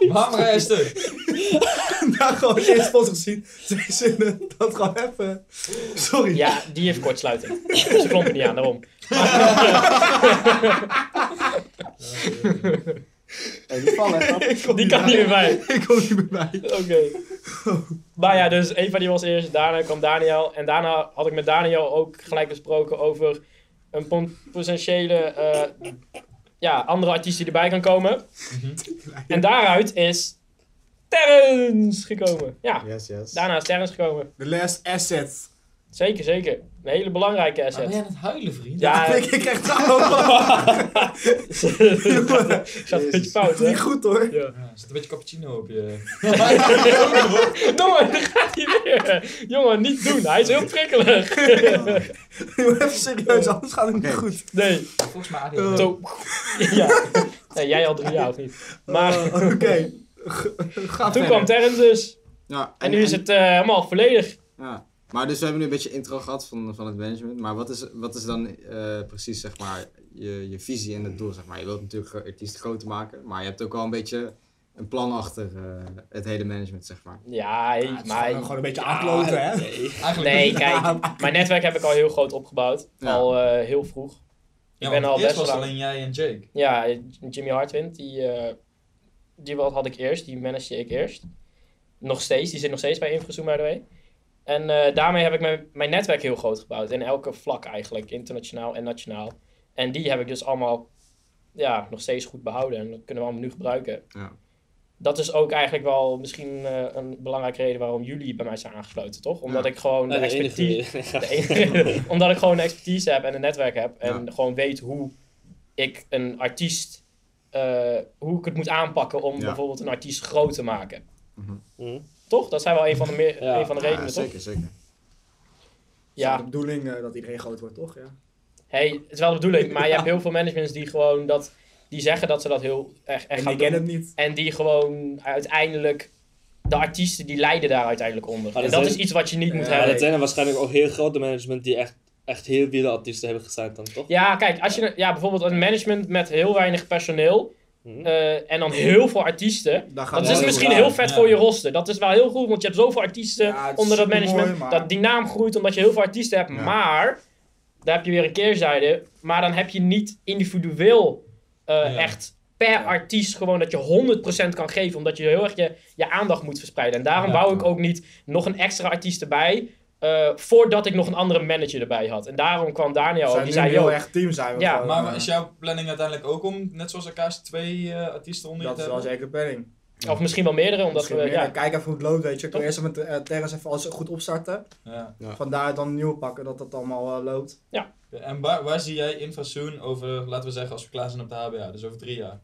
Speaker 2: Waarom ga je stuk?
Speaker 6: Nou, gewoon eerst pot gezien. Twee zinnen. Dat gewoon even. Sorry.
Speaker 1: Ja, die heeft kortsluiting. Ze klonk er niet aan, daarom.
Speaker 4: Hey, die vallen, hè, grap.
Speaker 1: Die kan niet meer bij.
Speaker 6: Ik kom niet meer bij.
Speaker 1: Oké. Maar ja, dus Eva die was eerst, daarna kwam Daniel. En daarna had ik met Daniel ook gelijk besproken over een pon- potentiële eh, ja, andere artiest die erbij kan komen. En daaruit is Terrence gekomen. Ja,
Speaker 4: Yes, yes.
Speaker 1: daarna is Terrence gekomen.
Speaker 6: The last asset.
Speaker 1: Zeker, zeker. Een hele belangrijke
Speaker 2: Ben
Speaker 1: asset.
Speaker 2: je aan het huilen, vriend?
Speaker 1: Ja,
Speaker 6: ik, ik krijg trouwen.
Speaker 1: ik zat een beetje
Speaker 4: Jezus.
Speaker 1: fout, hè?
Speaker 6: Niet goed hoor.
Speaker 1: Ja.
Speaker 2: Ja, Er zit een beetje cappuccino op je.
Speaker 1: Jongen, daar gaat hij weer. Jongen, niet doen. Hij is heel prikkelig.
Speaker 6: Je moet even serieus, anders gaat het niet
Speaker 4: Oké.
Speaker 6: goed.
Speaker 1: Oh. Nee.
Speaker 2: Volgens mij
Speaker 6: Eh,
Speaker 2: ADHD.
Speaker 1: Zo. Ja. Nee, jij al drie jaar of niet? Maar
Speaker 6: Eh, Oké. Ga
Speaker 1: Oh, toen
Speaker 6: verder.
Speaker 1: kwam Terrence dus.
Speaker 4: Ja,
Speaker 1: En nu is het eh, helemaal volledig.
Speaker 4: Ja. Maar dus we hebben nu een beetje intro gehad van, van het management. Maar wat is, wat is dan eh, precies zeg maar, je, je visie en het doel? Zeg maar? Je wilt natuurlijk eh, artiesten groter maken, maar je hebt ook wel een beetje een plan achter eh, het hele management. Zeg maar.
Speaker 1: Ja, hey,
Speaker 6: Ja, het is
Speaker 1: maar...
Speaker 6: gewoon, gewoon een beetje aankloten, hè?
Speaker 2: Eigenlijk
Speaker 1: Nee, kijk. Mijn netwerk heb ik al heel groot opgebouwd.
Speaker 4: Ja.
Speaker 1: Al eh, heel vroeg.
Speaker 2: Ja,
Speaker 1: ben
Speaker 2: want
Speaker 1: al
Speaker 2: eerst
Speaker 1: best
Speaker 2: was
Speaker 1: wel-
Speaker 2: alleen jij en Jake.
Speaker 1: Ja, Jimmy Hartwind, die, eh, die wat had ik eerst, die manage ik eerst. Nog steeds, die zit nog steeds bij Infrazoom, by the way. En eh, daarmee heb ik mijn, mijn netwerk heel groot gebouwd. In elke vlak eigenlijk, internationaal en nationaal. En die heb ik dus allemaal ja, nog steeds goed behouden. En dat kunnen we allemaal nu gebruiken.
Speaker 4: Ja.
Speaker 1: Dat is ook eigenlijk wel misschien eh, een belangrijke reden waarom jullie bij mij zijn aangesloten, toch? Omdat
Speaker 4: Ja.
Speaker 1: ik gewoon de
Speaker 5: Nou, de enige
Speaker 1: expertise...
Speaker 5: reden.
Speaker 1: De enige- omdat ik gewoon een expertise heb en een netwerk heb. En gewoon weet hoe ik een artiest. eh, hoe ik het moet aanpakken om
Speaker 4: Ja.
Speaker 1: bijvoorbeeld een artiest groot te maken.
Speaker 5: Hm?
Speaker 1: Toch? Dat zijn wel een van de, meer,
Speaker 5: Ja.
Speaker 1: een van de
Speaker 4: Ja,
Speaker 1: redenen, toch?
Speaker 4: zeker, zeker.
Speaker 6: Ja. De
Speaker 1: Ja,
Speaker 6: bedoeling eh, dat iedereen groot wordt, toch? Ja.
Speaker 1: hey, het is wel de bedoeling. Maar je hebt heel veel managements die gewoon dat. die zeggen dat ze dat heel echt, echt
Speaker 6: En die
Speaker 1: gaan doen.
Speaker 6: kennen het niet.
Speaker 1: En die gewoon uiteindelijk. de artiesten die lijden daar uiteindelijk onder.
Speaker 5: dat
Speaker 1: en dat
Speaker 5: zijn-
Speaker 1: is iets wat je niet moet
Speaker 6: Ja,
Speaker 5: Ja,
Speaker 1: hebben.
Speaker 5: dat zijn er waarschijnlijk ook heel grote management die echt, echt heel wilde artiesten hebben gesigned dan, toch?
Speaker 1: Ja, kijk, als je ja, bijvoorbeeld een management met heel weinig personeel
Speaker 5: Hm?
Speaker 1: eh, en dan heel veel artiesten.
Speaker 6: Daar gaat
Speaker 1: Dat
Speaker 6: wel
Speaker 1: is
Speaker 6: heel
Speaker 1: misschien
Speaker 6: goed.
Speaker 1: heel vet
Speaker 2: Ja.
Speaker 1: voor je roster. Dat is wel heel goed, want je hebt zoveel artiesten
Speaker 6: Ja, het is
Speaker 1: onder dat
Speaker 6: supermooi,
Speaker 1: management.
Speaker 6: maar-
Speaker 1: Dat die naam groeit omdat je heel veel artiesten hebt.
Speaker 4: Ja.
Speaker 1: Maar, daar heb je weer een keerzijde. Maar dan heb je niet individueel eh,
Speaker 2: Ja.
Speaker 1: echt per artiest gewoon dat je 100% kan geven. Omdat je heel erg je, je aandacht moet verspreiden. En daarom
Speaker 2: Ja.
Speaker 1: wou ik ook niet nog een extra artiest erbij. eh, voordat ik nog een andere manager erbij had. En daarom kwam
Speaker 6: We
Speaker 1: Daniel ook.
Speaker 6: zijn
Speaker 1: Die
Speaker 6: nu
Speaker 1: zei,
Speaker 6: heel
Speaker 1: yo,
Speaker 6: echt team zijn we
Speaker 1: Oh, Ja,
Speaker 6: gewoon,
Speaker 2: Maar
Speaker 6: eh,
Speaker 2: is jouw planning uiteindelijk ook om, net zoals elkaar, twee eh, artiesten onder je
Speaker 6: dat
Speaker 2: te
Speaker 6: is wel
Speaker 2: hebben?
Speaker 6: zeker planning.
Speaker 1: of misschien wel meerdere. Omdat
Speaker 6: Misschien
Speaker 1: we,
Speaker 6: meer.
Speaker 1: ja,
Speaker 6: Ja, Kijk even hoe het loopt, weet je. Ik wil
Speaker 1: Toch?
Speaker 6: eerst even met eh, Terrence even alles goed opstarten.
Speaker 2: Ja.
Speaker 4: Ja.
Speaker 6: Vandaar dan een nieuwe pakken, dat dat allemaal eh, loopt.
Speaker 2: En waar, waar zie jij Infrasoon over, laten we zeggen, als we klaar zijn op de HBA? Dus over drie jaar.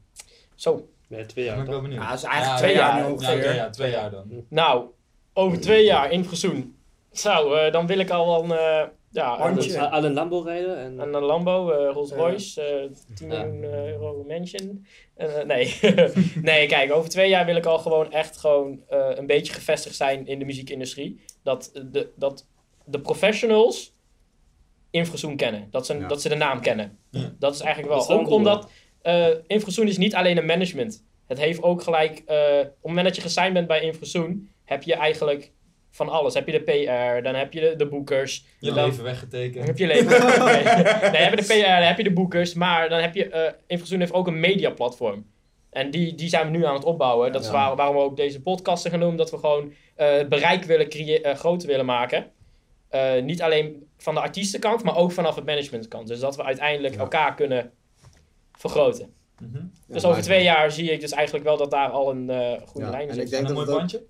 Speaker 1: zo.
Speaker 5: Nee, twee
Speaker 2: Ja,
Speaker 5: jaar,
Speaker 2: ben ik
Speaker 5: toch?
Speaker 2: wel benieuwd.
Speaker 6: Ja, dat is eigenlijk
Speaker 1: twee jaar
Speaker 6: nu
Speaker 2: ja,
Speaker 6: ongeveer.
Speaker 2: oké, ja, twee jaar dan.
Speaker 1: Nou, over twee jaar in Verzoen. Zo, eh, dan wil ik al wel een, eh, ja,
Speaker 5: Aan
Speaker 1: een,
Speaker 6: Handje.
Speaker 5: de- Aan een Lambo rijden en...
Speaker 1: een Lambo, eh, Rolls
Speaker 6: Ja.
Speaker 1: Royce, eh 10
Speaker 5: Ja.
Speaker 1: miljoen eh, euro mansion. En, eh, nee. nee, kijk, over twee jaar wil ik al gewoon echt gewoon eh, een beetje gevestigd zijn in de muziekindustrie. Dat de, dat de professionals Infrasoen kennen. Dat ze,
Speaker 4: Ja.
Speaker 1: dat ze de naam kennen.
Speaker 2: Ja.
Speaker 1: Dat is eigenlijk wel.
Speaker 5: Dat is wel
Speaker 1: ook
Speaker 5: cool,
Speaker 1: omdat eh Infrasoen is niet alleen een management. Het heeft ook gelijk. eh, op het moment dat je gesigned bent bij Infrasoen, heb je eigenlijk van alles. Heb je de PR, dan heb je de, de boekers.
Speaker 2: Je
Speaker 1: dan
Speaker 2: leven
Speaker 1: dan
Speaker 2: weggetekend.
Speaker 1: heb je leven. nee, dan heb je de PR, dan heb je de boekers. Maar dan heb je. eh Infrasoen heeft ook een mediaplatform. En die, die zijn we nu aan het opbouwen. Dat is
Speaker 4: Ja.
Speaker 1: waar- waarom we ook deze podcast gaan doen. Dat we gewoon eh, het bereik willen creë- eh, groter willen maken. Eh, niet alleen van de artiestenkant, maar ook vanaf het managementkant. Dus dat we uiteindelijk
Speaker 4: Ja.
Speaker 1: elkaar kunnen vergroten.
Speaker 2: Mhm.
Speaker 1: dus
Speaker 4: Ja,
Speaker 1: over twee
Speaker 4: maar-
Speaker 1: jaar zie ik dus eigenlijk wel dat daar al een eh, goede
Speaker 4: Ja,
Speaker 1: lijn in
Speaker 4: en ik
Speaker 1: zit.
Speaker 4: denk
Speaker 2: En een
Speaker 4: dat
Speaker 2: mooi
Speaker 4: het ook-
Speaker 2: bandje.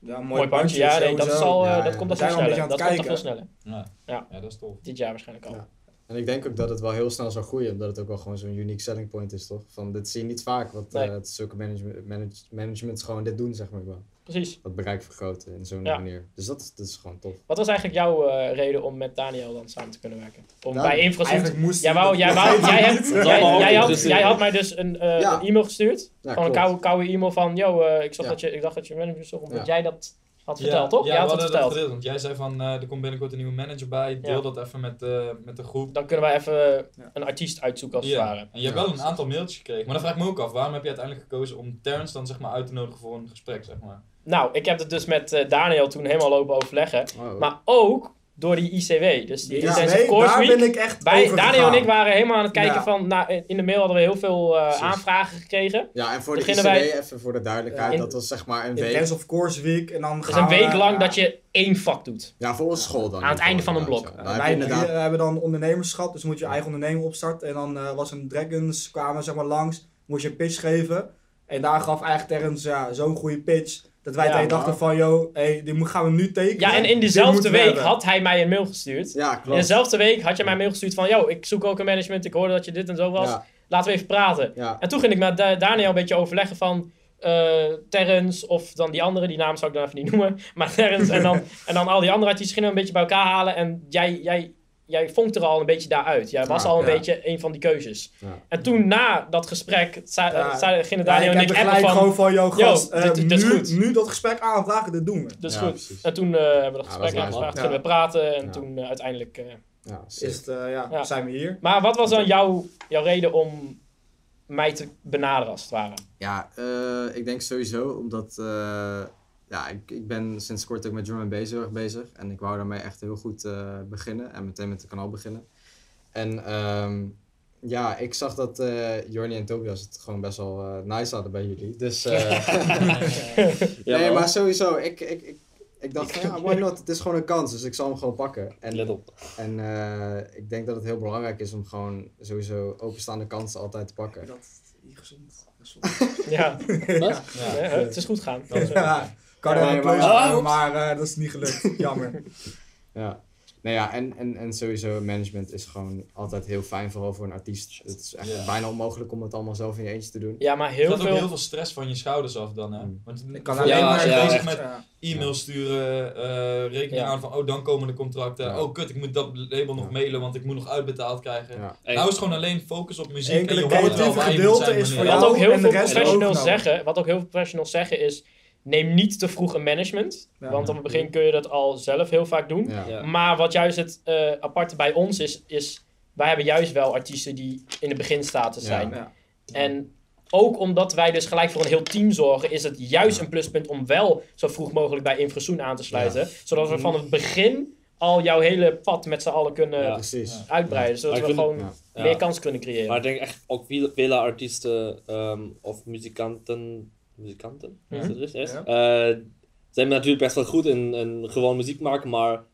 Speaker 3: Ja,
Speaker 1: Mooi bandje, ja. Nee, dat, is al, eh,
Speaker 4: Ja,
Speaker 1: dat
Speaker 4: ja.
Speaker 1: komt al
Speaker 3: Zijn
Speaker 1: veel
Speaker 3: we een
Speaker 1: sneller.
Speaker 3: beetje aan
Speaker 1: Dat
Speaker 3: het
Speaker 1: komt al veel
Speaker 3: kijken.
Speaker 1: sneller.
Speaker 2: Ja.
Speaker 1: Ja.
Speaker 2: Ja. dat is tof.
Speaker 1: Dit jaar waarschijnlijk al.
Speaker 4: Ja. En ik denk ook dat het wel heel snel zou groeien, omdat het ook wel gewoon zo'n unique selling point is, toch? Van dit zie je niet vaak, want
Speaker 1: Nee.
Speaker 4: eh, het is zulke management, manage- managements gewoon dit doen, zeg maar wel.
Speaker 1: Precies.
Speaker 4: Dat bereik vergroten in zo'n
Speaker 1: Ja.
Speaker 4: manier. Dus dat, is- dat is gewoon tof.
Speaker 1: Wat was eigenlijk jouw eh, reden om met Daniel dan samen te kunnen werken? Om
Speaker 4: Nou,
Speaker 1: bij Infrasoft...
Speaker 6: Eigenlijk moest
Speaker 1: Jij, wou, jij, wou, jij, hebt,
Speaker 5: Dat
Speaker 1: jij,
Speaker 5: allemaal ook
Speaker 1: jij had,
Speaker 5: interesseren.
Speaker 1: jij had mij dus een, eh,
Speaker 4: Ja.
Speaker 1: een e-mail gestuurd.
Speaker 4: Ja,
Speaker 1: gewoon een
Speaker 4: klopt.
Speaker 1: koude, koude e-mail van... Yo, eh, ik, zag
Speaker 4: Ja.
Speaker 1: dat je, ik dacht dat je manager zocht, omdat
Speaker 4: Ja.
Speaker 1: jij dat had verteld, toch?
Speaker 2: Ja,
Speaker 1: jij
Speaker 2: we
Speaker 1: had dat
Speaker 2: hadden dat
Speaker 1: verteld.
Speaker 2: verdeeld. Want jij zei van, eh, er komt binnenkort een nieuwe manager bij. Deel
Speaker 1: Ja.
Speaker 2: dat even met, eh, met de groep.
Speaker 1: Dan kunnen wij even
Speaker 3: Ja.
Speaker 1: een artiest uitzoeken als het
Speaker 2: Ja.
Speaker 1: ware.
Speaker 2: En je hebt
Speaker 4: Ja.
Speaker 2: wel een aantal mailtjes gekregen. Maar dan vraag ik me ook af, waarom heb je uiteindelijk gekozen om Terrence dan zeg maar uit te nodigen voor een gesprek, zeg maar?
Speaker 1: Nou, ik heb het dus met eh, Daniel toen helemaal lopen overleggen.
Speaker 4: Oh.
Speaker 1: Maar ook door die ICW, dus die
Speaker 6: Ja,
Speaker 1: Intensive
Speaker 6: nee,
Speaker 1: Course
Speaker 6: daar
Speaker 1: Week.
Speaker 6: ben ik echt
Speaker 1: Wij,
Speaker 6: over
Speaker 1: Daniel en ik
Speaker 6: gegaan.
Speaker 1: waren helemaal aan het kijken
Speaker 6: Ja.
Speaker 1: van... Nou, in de mail hadden we heel veel eh,
Speaker 4: Precies.
Speaker 1: aanvragen gekregen.
Speaker 4: ja, en voor de ICW,
Speaker 1: Beginnen
Speaker 4: even voor de duidelijkheid,
Speaker 1: Ja.
Speaker 4: dat was zeg maar een week.
Speaker 3: Intense of course week en dan
Speaker 1: Dus
Speaker 3: gaan
Speaker 1: een week
Speaker 3: we- eh,
Speaker 1: lang
Speaker 3: ja.
Speaker 1: dat je één vak doet.
Speaker 4: Ja, voor onze school dan.
Speaker 1: Aan het einde van een
Speaker 4: inderdaad,
Speaker 1: blok.
Speaker 4: ja.
Speaker 3: Ja,
Speaker 4: Daar
Speaker 3: wij
Speaker 4: heb je inderdaad...
Speaker 3: drie, eh, hebben dan ondernemerschap, dus moet je eigen onderneming opstarten. En dan eh, was een Dragons, kwamen zeg maar langs, moest je een pitch geven. En daar gaf eigenlijk Terrence ja, zo'n goede pitch, dat wij
Speaker 1: Ja,
Speaker 3: tegen
Speaker 1: maar-
Speaker 3: dachten van, yo, hey, die moet- gaan we nu tekenen.
Speaker 1: Ja, en in
Speaker 3: Dit
Speaker 1: dezelfde
Speaker 3: moeten we
Speaker 1: week
Speaker 3: hebben.
Speaker 1: had hij mij een mail gestuurd.
Speaker 4: Ja,
Speaker 1: In
Speaker 4: klopt.
Speaker 1: dezelfde week had je mij een mail gestuurd van... Yo, ik zoek ook een management. Ik hoorde dat je dit en zo was.
Speaker 4: Ja,
Speaker 1: Laten we even praten.
Speaker 4: ja.
Speaker 1: En toen ging ik met Da- Daniel een beetje overleggen van... eh Terrence of dan die andere. Die naam zou ik dan even niet noemen. Maar Terrence en dan, en dan al die andere artiesten gingen we een beetje bij elkaar halen. En jij, jij, jij vonkt er al een beetje daaruit. Jij was
Speaker 4: Ja,
Speaker 1: al een
Speaker 4: ja.
Speaker 1: beetje een van die keuzes.
Speaker 4: Ja.
Speaker 1: En toen na dat gesprek zei,
Speaker 3: Ja.
Speaker 1: zei- gingen
Speaker 3: Ja,
Speaker 1: Daniel
Speaker 3: ik
Speaker 1: en
Speaker 3: heb
Speaker 1: ik
Speaker 3: er
Speaker 1: appen
Speaker 3: gelijk
Speaker 1: van...
Speaker 3: gewoon van, yo, gast,
Speaker 1: Yo, dit-
Speaker 3: eh,
Speaker 1: dit is
Speaker 3: nu,
Speaker 1: goed.
Speaker 3: nu dat gesprek aanvragen, dit doen we.
Speaker 1: Dat is
Speaker 4: Ja,
Speaker 1: goed.
Speaker 4: precies.
Speaker 1: En toen eh, hebben we dat
Speaker 4: Ja, dat
Speaker 1: gesprek
Speaker 4: is nice,
Speaker 1: aangevraagd.
Speaker 3: man.
Speaker 1: Gingen we praten. En
Speaker 4: Ja.
Speaker 1: toen eh, uiteindelijk... eh,
Speaker 4: Ja, sick.
Speaker 3: Is het, eh, ja,
Speaker 1: Ja.
Speaker 3: zijn we hier.
Speaker 1: Maar wat was dan jouw, jouw reden om mij te benaderen, als het ware?
Speaker 4: Ja, eh, ik denk sowieso omdat eh, ja, ik, ik ben sinds kort ook met drum and bass heel erg bezig. En ik wou daarmee echt heel goed eh, beginnen en meteen met het kanaal beginnen. En ehm, ja, ik zag dat eh Jorni en Tobias het gewoon best wel eh, nice hadden bij jullie. Dus eh, nee, maar sowieso, ik, ik, ik, ik dacht van ja, why not? Het is gewoon een kans, dus ik zal hem gewoon pakken. En
Speaker 5: Let op.
Speaker 4: en eh, ik denk dat het heel belangrijk is om gewoon sowieso openstaande kansen altijd te pakken.
Speaker 3: Dat gezond.
Speaker 1: Ja,
Speaker 5: Wat?
Speaker 2: Ja.
Speaker 1: hè, hè, het is goed gaan.
Speaker 2: Dat is wel-
Speaker 3: Ja, kan
Speaker 4: Ja,
Speaker 3: er
Speaker 4: nee,
Speaker 3: wel close
Speaker 5: maar-
Speaker 3: gaan, maar eh, dat is niet gelukt. Jammer.
Speaker 4: Ja. Nou ja, en, en, en sowieso management is gewoon altijd heel fijn, vooral voor een artiest. Het is echt
Speaker 2: Ja.
Speaker 4: bijna onmogelijk om het allemaal zelf in je eentje te doen.
Speaker 1: Ja, maar
Speaker 2: Er
Speaker 1: heel
Speaker 2: gaat ook heel
Speaker 1: veel...
Speaker 2: veel stress van je schouders af dan, hè?
Speaker 4: Mm.
Speaker 2: Want
Speaker 3: Ik kan
Speaker 2: alleen
Speaker 5: Ja,
Speaker 2: maar
Speaker 5: ja,
Speaker 2: bezig
Speaker 5: echt.
Speaker 2: met e-mail sturen, eh, rekening
Speaker 1: Ja.
Speaker 2: aan van, oh, dan komen de contracten.
Speaker 4: Ja.
Speaker 2: Oh, kut, ik moet dat label nog
Speaker 4: Ja.
Speaker 2: mailen, want ik moet nog uitbetaald krijgen.
Speaker 4: Ja.
Speaker 5: Hey,
Speaker 2: Nou is het gewoon alleen focus op muziek.
Speaker 3: Enkele
Speaker 2: en je hoort wel
Speaker 3: creatieve
Speaker 2: waar je moet
Speaker 3: gedeelte
Speaker 2: zijn
Speaker 3: is
Speaker 2: wanneer.
Speaker 3: voor
Speaker 1: Wat
Speaker 3: jou
Speaker 1: ook heel
Speaker 3: en
Speaker 1: veel
Speaker 3: de rest
Speaker 1: professionals
Speaker 3: overgenomen.
Speaker 1: zeggen, wat ook heel veel professionals zeggen is... Neem niet te vroeg een management.
Speaker 3: Ja.
Speaker 1: want op het begin kun je dat al zelf heel vaak doen.
Speaker 4: Ja.
Speaker 5: Ja.
Speaker 1: Maar wat juist het eh, aparte bij ons is, is... Wij hebben juist wel artiesten die in de beginstatus
Speaker 4: Ja.
Speaker 1: zijn.
Speaker 3: Ja.
Speaker 1: En ook omdat wij dus gelijk voor een heel team zorgen, is het juist een pluspunt om wel zo vroeg mogelijk bij Infrasoen aan te sluiten. Zodat
Speaker 5: Mhm.
Speaker 1: we van het begin al jouw hele pad met z'n allen kunnen
Speaker 5: Ja.
Speaker 4: Precies.
Speaker 2: Ja.
Speaker 1: uitbreiden. Zodat
Speaker 5: Maar
Speaker 1: we
Speaker 5: ik vind
Speaker 1: gewoon
Speaker 4: het-
Speaker 5: ja.
Speaker 1: meer kans kunnen creëren.
Speaker 5: Maar ik denk echt ook veel- vele artiesten ehm, of muzikanten, muzikanten
Speaker 1: Mhm.
Speaker 5: is dat het is, Eh, zijn natuurlijk best wel goed in, in gewoon muziek maken, maar dat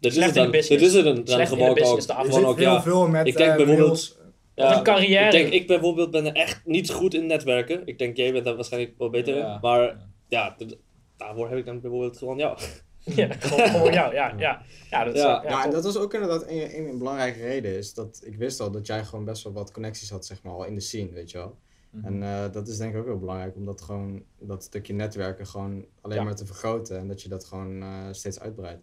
Speaker 5: is
Speaker 1: Slecht
Speaker 5: het
Speaker 1: in
Speaker 5: dan,
Speaker 1: de
Speaker 5: dat
Speaker 1: business.
Speaker 5: is het dan, dan
Speaker 1: Slecht in de
Speaker 5: gewoon ook.
Speaker 1: business, de
Speaker 3: Er
Speaker 1: afval.
Speaker 5: Gewoon
Speaker 3: zit
Speaker 5: ook,
Speaker 3: heel
Speaker 5: ja.
Speaker 3: veel met
Speaker 5: Ik denk
Speaker 3: eh,
Speaker 5: bijvoorbeeld-
Speaker 3: mails.
Speaker 1: Of een
Speaker 5: Ja,
Speaker 1: carrière.
Speaker 5: ik denk, ik bijvoorbeeld ben echt niet goed in netwerken. Ik denk, jij bent daar waarschijnlijk wel beter
Speaker 2: Ja.
Speaker 5: in, maar ja, dat- daarvoor heb ik dan bijvoorbeeld gewoon jou.
Speaker 1: Ah. Ja, gewoon, gewoon jou. Ja, ja. ja, dat is,
Speaker 5: Ja.
Speaker 1: ja,
Speaker 4: Ja, en
Speaker 1: top.
Speaker 4: dat was ook inderdaad een, een, een belangrijke reden. Is dat ik wist al dat jij gewoon best wel wat connecties had, zeg maar, al in de scene, weet je wel.
Speaker 2: Mhm.
Speaker 4: En eh, dat is denk ik ook heel belangrijk, omdat gewoon dat stukje netwerken gewoon alleen
Speaker 1: Ja.
Speaker 4: maar te vergroten en dat je dat gewoon eh, steeds uitbreidt.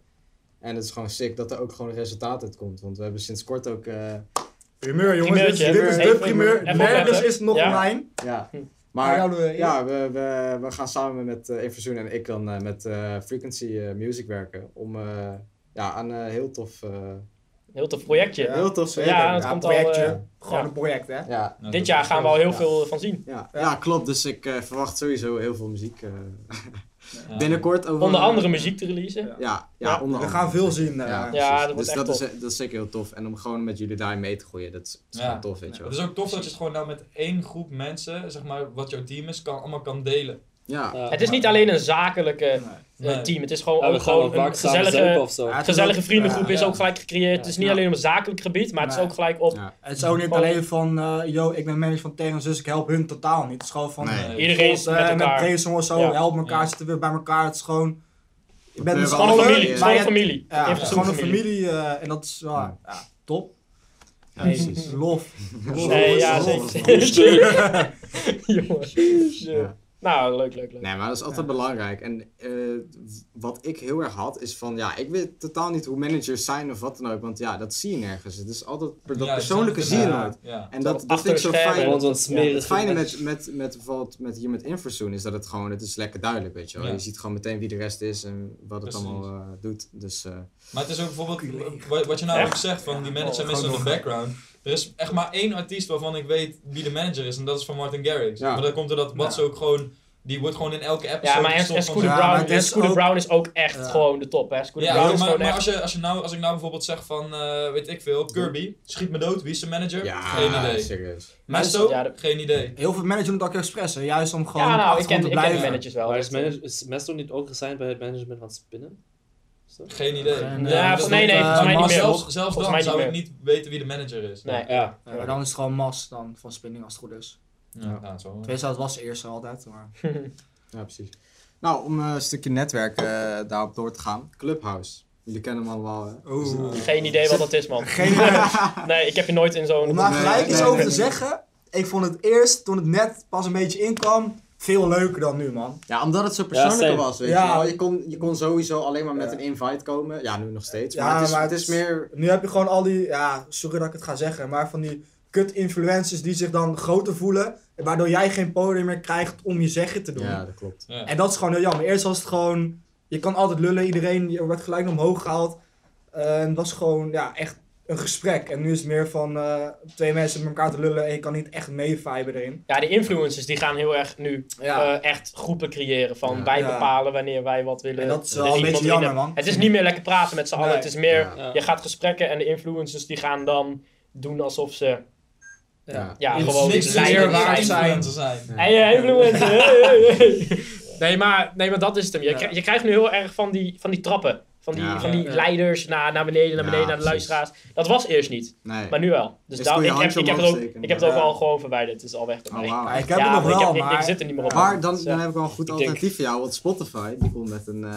Speaker 4: En het is gewoon sick dat er ook gewoon resultaat uit komt. Want we hebben sinds kort ook. eh,
Speaker 3: Primeur jongens, dit,
Speaker 1: Primeurtje.
Speaker 3: dit is
Speaker 1: Even-
Speaker 3: de primeur.
Speaker 1: even
Speaker 3: Nergens
Speaker 1: opletten.
Speaker 3: is nog
Speaker 1: Ja.
Speaker 3: online.
Speaker 4: ja,
Speaker 1: Hm.
Speaker 4: maar
Speaker 3: Maar we, ja.
Speaker 4: Ja, we, we, we gaan samen met uh, en ik dan eh, met eh, Frequency eh, Music werken om eh, ja, aan een heel tof eh,
Speaker 1: Heel tof projectje.
Speaker 3: Ja.
Speaker 1: Ja,
Speaker 4: Heel tof zeker.
Speaker 1: dat
Speaker 3: Ja,
Speaker 1: komt al...
Speaker 3: projectje.
Speaker 1: eh,
Speaker 3: Gewoon
Speaker 1: ja.
Speaker 3: een project, hè?
Speaker 4: Ja,
Speaker 2: Nou,
Speaker 1: dit
Speaker 2: dat-
Speaker 1: jaar gaan we al heel
Speaker 4: Ja.
Speaker 1: veel van zien.
Speaker 4: ja, ja, klopt. Dus ik eh, verwacht sowieso heel veel muziek. eh,
Speaker 2: Ja.
Speaker 4: binnenkort over...
Speaker 1: Onder andere muziek te releasen.
Speaker 4: Ja, ja, onder
Speaker 3: we
Speaker 4: andere. Dus-
Speaker 3: gaan veel zien. eh,
Speaker 1: Ja,
Speaker 4: Ja, precies.
Speaker 1: dat wordt
Speaker 4: dus
Speaker 1: echt
Speaker 4: dat,
Speaker 1: tof.
Speaker 4: Is, dat is zeker heel tof. En om gewoon met jullie daarin mee te groeien, dat is, dat
Speaker 2: Ja.
Speaker 4: is
Speaker 2: dus-
Speaker 4: gewoon tof, weet je
Speaker 2: Het
Speaker 4: wel.
Speaker 2: is ook tof dat je het gewoon nou met één groep mensen, zeg maar, wat jouw team is, kan, allemaal kan delen.
Speaker 4: Ja,
Speaker 5: Ja.
Speaker 1: Het is niet alleen een zakelijke eh,
Speaker 2: Nee.
Speaker 1: team. Het is gewoon,
Speaker 5: eh, Ja, we
Speaker 1: ook
Speaker 5: gaan wel
Speaker 1: gewoon
Speaker 5: vaak
Speaker 1: een
Speaker 5: samen zuipen
Speaker 1: gezellige,
Speaker 5: of zo.
Speaker 3: Ja, het is
Speaker 1: gezellige
Speaker 3: ook-
Speaker 1: vriendengroep
Speaker 2: Ja.
Speaker 1: is ook gelijk gecreëerd. Het is niet
Speaker 3: Ja.
Speaker 1: alleen op zakelijk gebied, maar het is
Speaker 3: Nee.
Speaker 1: ook gelijk op...
Speaker 4: Ja.
Speaker 3: Het is ook niet
Speaker 1: Gewoon-
Speaker 3: alleen van, eh yo, ik ben manager van Terrence, dus ik help hun totaal niet. Het is gewoon van,
Speaker 4: Nee.
Speaker 2: Eh,
Speaker 1: Iedereen is
Speaker 3: eh,
Speaker 1: met elkaar.
Speaker 3: brainstormen of zo,
Speaker 1: Ja.
Speaker 3: help elkaar,
Speaker 2: Ja.
Speaker 3: zitten weer bij elkaar. Het is gewoon, je bent
Speaker 4: Gewoon
Speaker 3: met z'n
Speaker 4: een
Speaker 1: Gewoon een
Speaker 3: allen,
Speaker 1: familie. Het is
Speaker 3: maar
Speaker 1: gewoon een
Speaker 3: je-
Speaker 1: familie. Je
Speaker 3: Ja, het
Speaker 1: hebt
Speaker 3: is
Speaker 1: zo'n
Speaker 3: gewoon een familie eh, en dat is wel, ja.
Speaker 4: Ja.
Speaker 3: top.
Speaker 4: ja, precies.
Speaker 3: Lof.
Speaker 1: Nee, ja,
Speaker 4: Rolf.
Speaker 1: zeker. Jongen.
Speaker 4: Ja.
Speaker 1: Nou, leuk, leuk, leuk.
Speaker 4: Nee, maar dat is altijd belangrijk. En eh, wat ik heel erg had, is van ja, ik weet totaal niet hoe managers zijn of wat dan ook. Want ja, dat zie je nergens. Het is altijd per- dat
Speaker 2: Ja,
Speaker 4: persoonlijke
Speaker 2: het is
Speaker 4: zie je
Speaker 3: inderdaad-
Speaker 4: nooit.
Speaker 2: Ja.
Speaker 4: En dat, dat
Speaker 1: Achter
Speaker 4: vind ik zo
Speaker 1: de schermen.
Speaker 4: fijn.
Speaker 5: Want wat
Speaker 1: Ja,
Speaker 5: smerige
Speaker 4: Het fijne met,
Speaker 5: mensen.
Speaker 4: met, met, bijvoorbeeld met hier met Infersoon is dat het gewoon, het is lekker duidelijk, weet je wel.
Speaker 2: Ja.
Speaker 4: Je ziet gewoon meteen wie de rest is en wat het
Speaker 2: Precies.
Speaker 4: allemaal eh, doet. Dus eh,
Speaker 2: Maar het is ook bijvoorbeeld, wat, wat je nou ook
Speaker 1: Echt?
Speaker 2: zegt van die
Speaker 3: Ja,
Speaker 2: manager mist in
Speaker 3: gewoon
Speaker 2: de background. Er is echt maar één artiest waarvan ik weet wie de manager is en dat is van Martin Garrix.
Speaker 4: Ja.
Speaker 2: Maar dan komt er dat Mats ook gewoon, die wordt gewoon in elke episode
Speaker 1: Ja, maar en,
Speaker 2: gestopt
Speaker 1: en
Speaker 2: van
Speaker 1: Scooter,
Speaker 3: Ja, maar
Speaker 1: Brown,
Speaker 3: het
Speaker 1: en
Speaker 3: is
Speaker 1: Scooter
Speaker 3: ook-
Speaker 1: Brown is ook echt
Speaker 3: Ja.
Speaker 1: gewoon de top, hè. Scooter
Speaker 2: Ja,
Speaker 1: Brown is
Speaker 2: maar,
Speaker 1: gewoon
Speaker 2: maar
Speaker 1: echt...
Speaker 2: als, je, als, je nou, als ik nou bijvoorbeeld zeg van, eh, weet ik veel, Kirby, schiet me dood, wie is de manager?
Speaker 4: ja,
Speaker 2: Geen idee.
Speaker 4: serieus.
Speaker 2: Mesto?
Speaker 1: Ja, dat-
Speaker 2: Geen idee.
Speaker 3: Heel veel managers doen het ook expres, hè. juist om gewoon
Speaker 1: ja, nou, ik
Speaker 3: achtergrond
Speaker 1: ken,
Speaker 3: te
Speaker 1: ik ken de
Speaker 3: blijven.
Speaker 1: managers wel.
Speaker 5: Maar is, manage, is Mesto niet ook gesigned bij het management van Spinnen? Is dat-
Speaker 2: Geen idee.
Speaker 3: Geen
Speaker 2: Nee,
Speaker 3: idee.
Speaker 2: dat
Speaker 1: Ja,
Speaker 2: is
Speaker 1: nee,
Speaker 2: niet-
Speaker 1: nee,
Speaker 3: eh,
Speaker 1: volgens mij
Speaker 2: Maar
Speaker 1: niet meer.
Speaker 2: zelfs,
Speaker 1: Volgens
Speaker 2: zelfs dan
Speaker 1: mij niet
Speaker 2: zou ik
Speaker 1: meer.
Speaker 2: niet weten wie de manager is.
Speaker 1: Nee.
Speaker 5: Ja.
Speaker 3: Ja, maar dan is het gewoon Mas dan, van Spinning, als het goed is.
Speaker 2: Ja, nou, zo.
Speaker 3: Tenminste, dat was eerst altijd, maar...
Speaker 4: Ja, precies. Nou, om eh, een stukje netwerk eh, daarop door te gaan. Clubhouse. Jullie kennen hem allemaal, hè? Dus, eh,
Speaker 3: Oeh.
Speaker 1: Geen idee wat dat is, man.
Speaker 3: Geen idee.
Speaker 1: Nee, ik heb je nooit in zo'n...
Speaker 3: Om daar
Speaker 4: Nee,
Speaker 3: gelijk
Speaker 4: nee,
Speaker 3: iets
Speaker 4: nee,
Speaker 3: over te
Speaker 4: nee.
Speaker 3: zeggen, ik vond het eerst, toen het net pas een beetje inkwam, veel leuker dan nu, man.
Speaker 4: Ja, omdat het zo persoonlijker
Speaker 5: same.
Speaker 4: was, weet
Speaker 3: Ja.
Speaker 4: je wel. Je kon, je kon sowieso alleen maar met
Speaker 3: Ja.
Speaker 4: een invite komen. Ja, nu nog steeds.
Speaker 3: Ja,
Speaker 4: maar het is,
Speaker 3: maar
Speaker 4: het
Speaker 3: het
Speaker 4: is meer...
Speaker 3: Nu heb je gewoon al die, ja, sorry dat ik het ga zeggen, maar van die kut-influencers die zich dan groter voelen, waardoor jij geen podium meer krijgt om je zeggen te doen.
Speaker 4: Ja, dat klopt.
Speaker 2: Ja.
Speaker 3: En dat is gewoon heel jammer. Eerst was het gewoon, je kan altijd lullen, iedereen je werd gelijk naar omhoog gehaald. Eh, en het was gewoon, ja, echt een gesprek. En nu is het meer van eh, twee mensen met elkaar te lullen en je kan niet echt meeviben erin.
Speaker 1: Ja, die influencers die gaan heel erg nu
Speaker 3: Ja.
Speaker 1: eh, echt groepen creëren. Van
Speaker 4: Ja.
Speaker 1: wij
Speaker 3: Ja.
Speaker 1: bepalen wanneer wij wat willen.
Speaker 3: en dat is
Speaker 1: Er
Speaker 3: wel een
Speaker 1: iemand
Speaker 3: beetje
Speaker 1: in
Speaker 3: jammer,
Speaker 1: de-
Speaker 3: man.
Speaker 1: Het is niet meer lekker praten met z'n allen.
Speaker 3: Nee.
Speaker 1: Het is meer,
Speaker 4: Ja.
Speaker 5: Ja.
Speaker 1: je gaat gesprekken en de influencers die gaan dan doen alsof ze
Speaker 4: Ja.
Speaker 1: ja,
Speaker 2: Het is
Speaker 1: gewoon
Speaker 2: niks
Speaker 3: leider
Speaker 2: meer
Speaker 1: leider
Speaker 3: waar
Speaker 1: zijn.
Speaker 3: zijn.
Speaker 2: influencer zijn.
Speaker 1: Hey, eh, influencer. hey, hey, hey. Nee, maar, nee, maar dat is het hem. Je,
Speaker 3: Ja.
Speaker 1: krij- je krijgt nu heel erg van die, van die trappen. Van die,
Speaker 4: Ja.
Speaker 1: van die
Speaker 3: Ja.
Speaker 1: leiders naar, naar beneden, naar
Speaker 4: Ja,
Speaker 1: beneden, naar de
Speaker 4: precies.
Speaker 1: luisteraars. Dat was eerst niet,
Speaker 4: Nee.
Speaker 1: maar nu wel. Dus
Speaker 4: Is
Speaker 1: daarom,
Speaker 4: goeie
Speaker 1: ik, heb,
Speaker 4: handje
Speaker 1: ik, heb het
Speaker 4: omhoog
Speaker 1: ook,
Speaker 4: steken,
Speaker 1: ik heb het ook
Speaker 3: ja.
Speaker 1: al gewoon verwijderd. Het is al weg. bij
Speaker 4: Oh,
Speaker 1: mij.
Speaker 4: wauw.
Speaker 3: Ja, ik heb
Speaker 1: ja,
Speaker 3: het
Speaker 1: maar
Speaker 3: nog wel,
Speaker 1: ik, heb- ik-
Speaker 3: maar...
Speaker 1: ik, zit er niet meer op.
Speaker 4: Maar dan,
Speaker 1: Dus,
Speaker 4: dan
Speaker 1: eh,
Speaker 4: heb ik wel een goed
Speaker 5: ik
Speaker 4: alternatief voor jou. Want Spotify die komt met een, eh,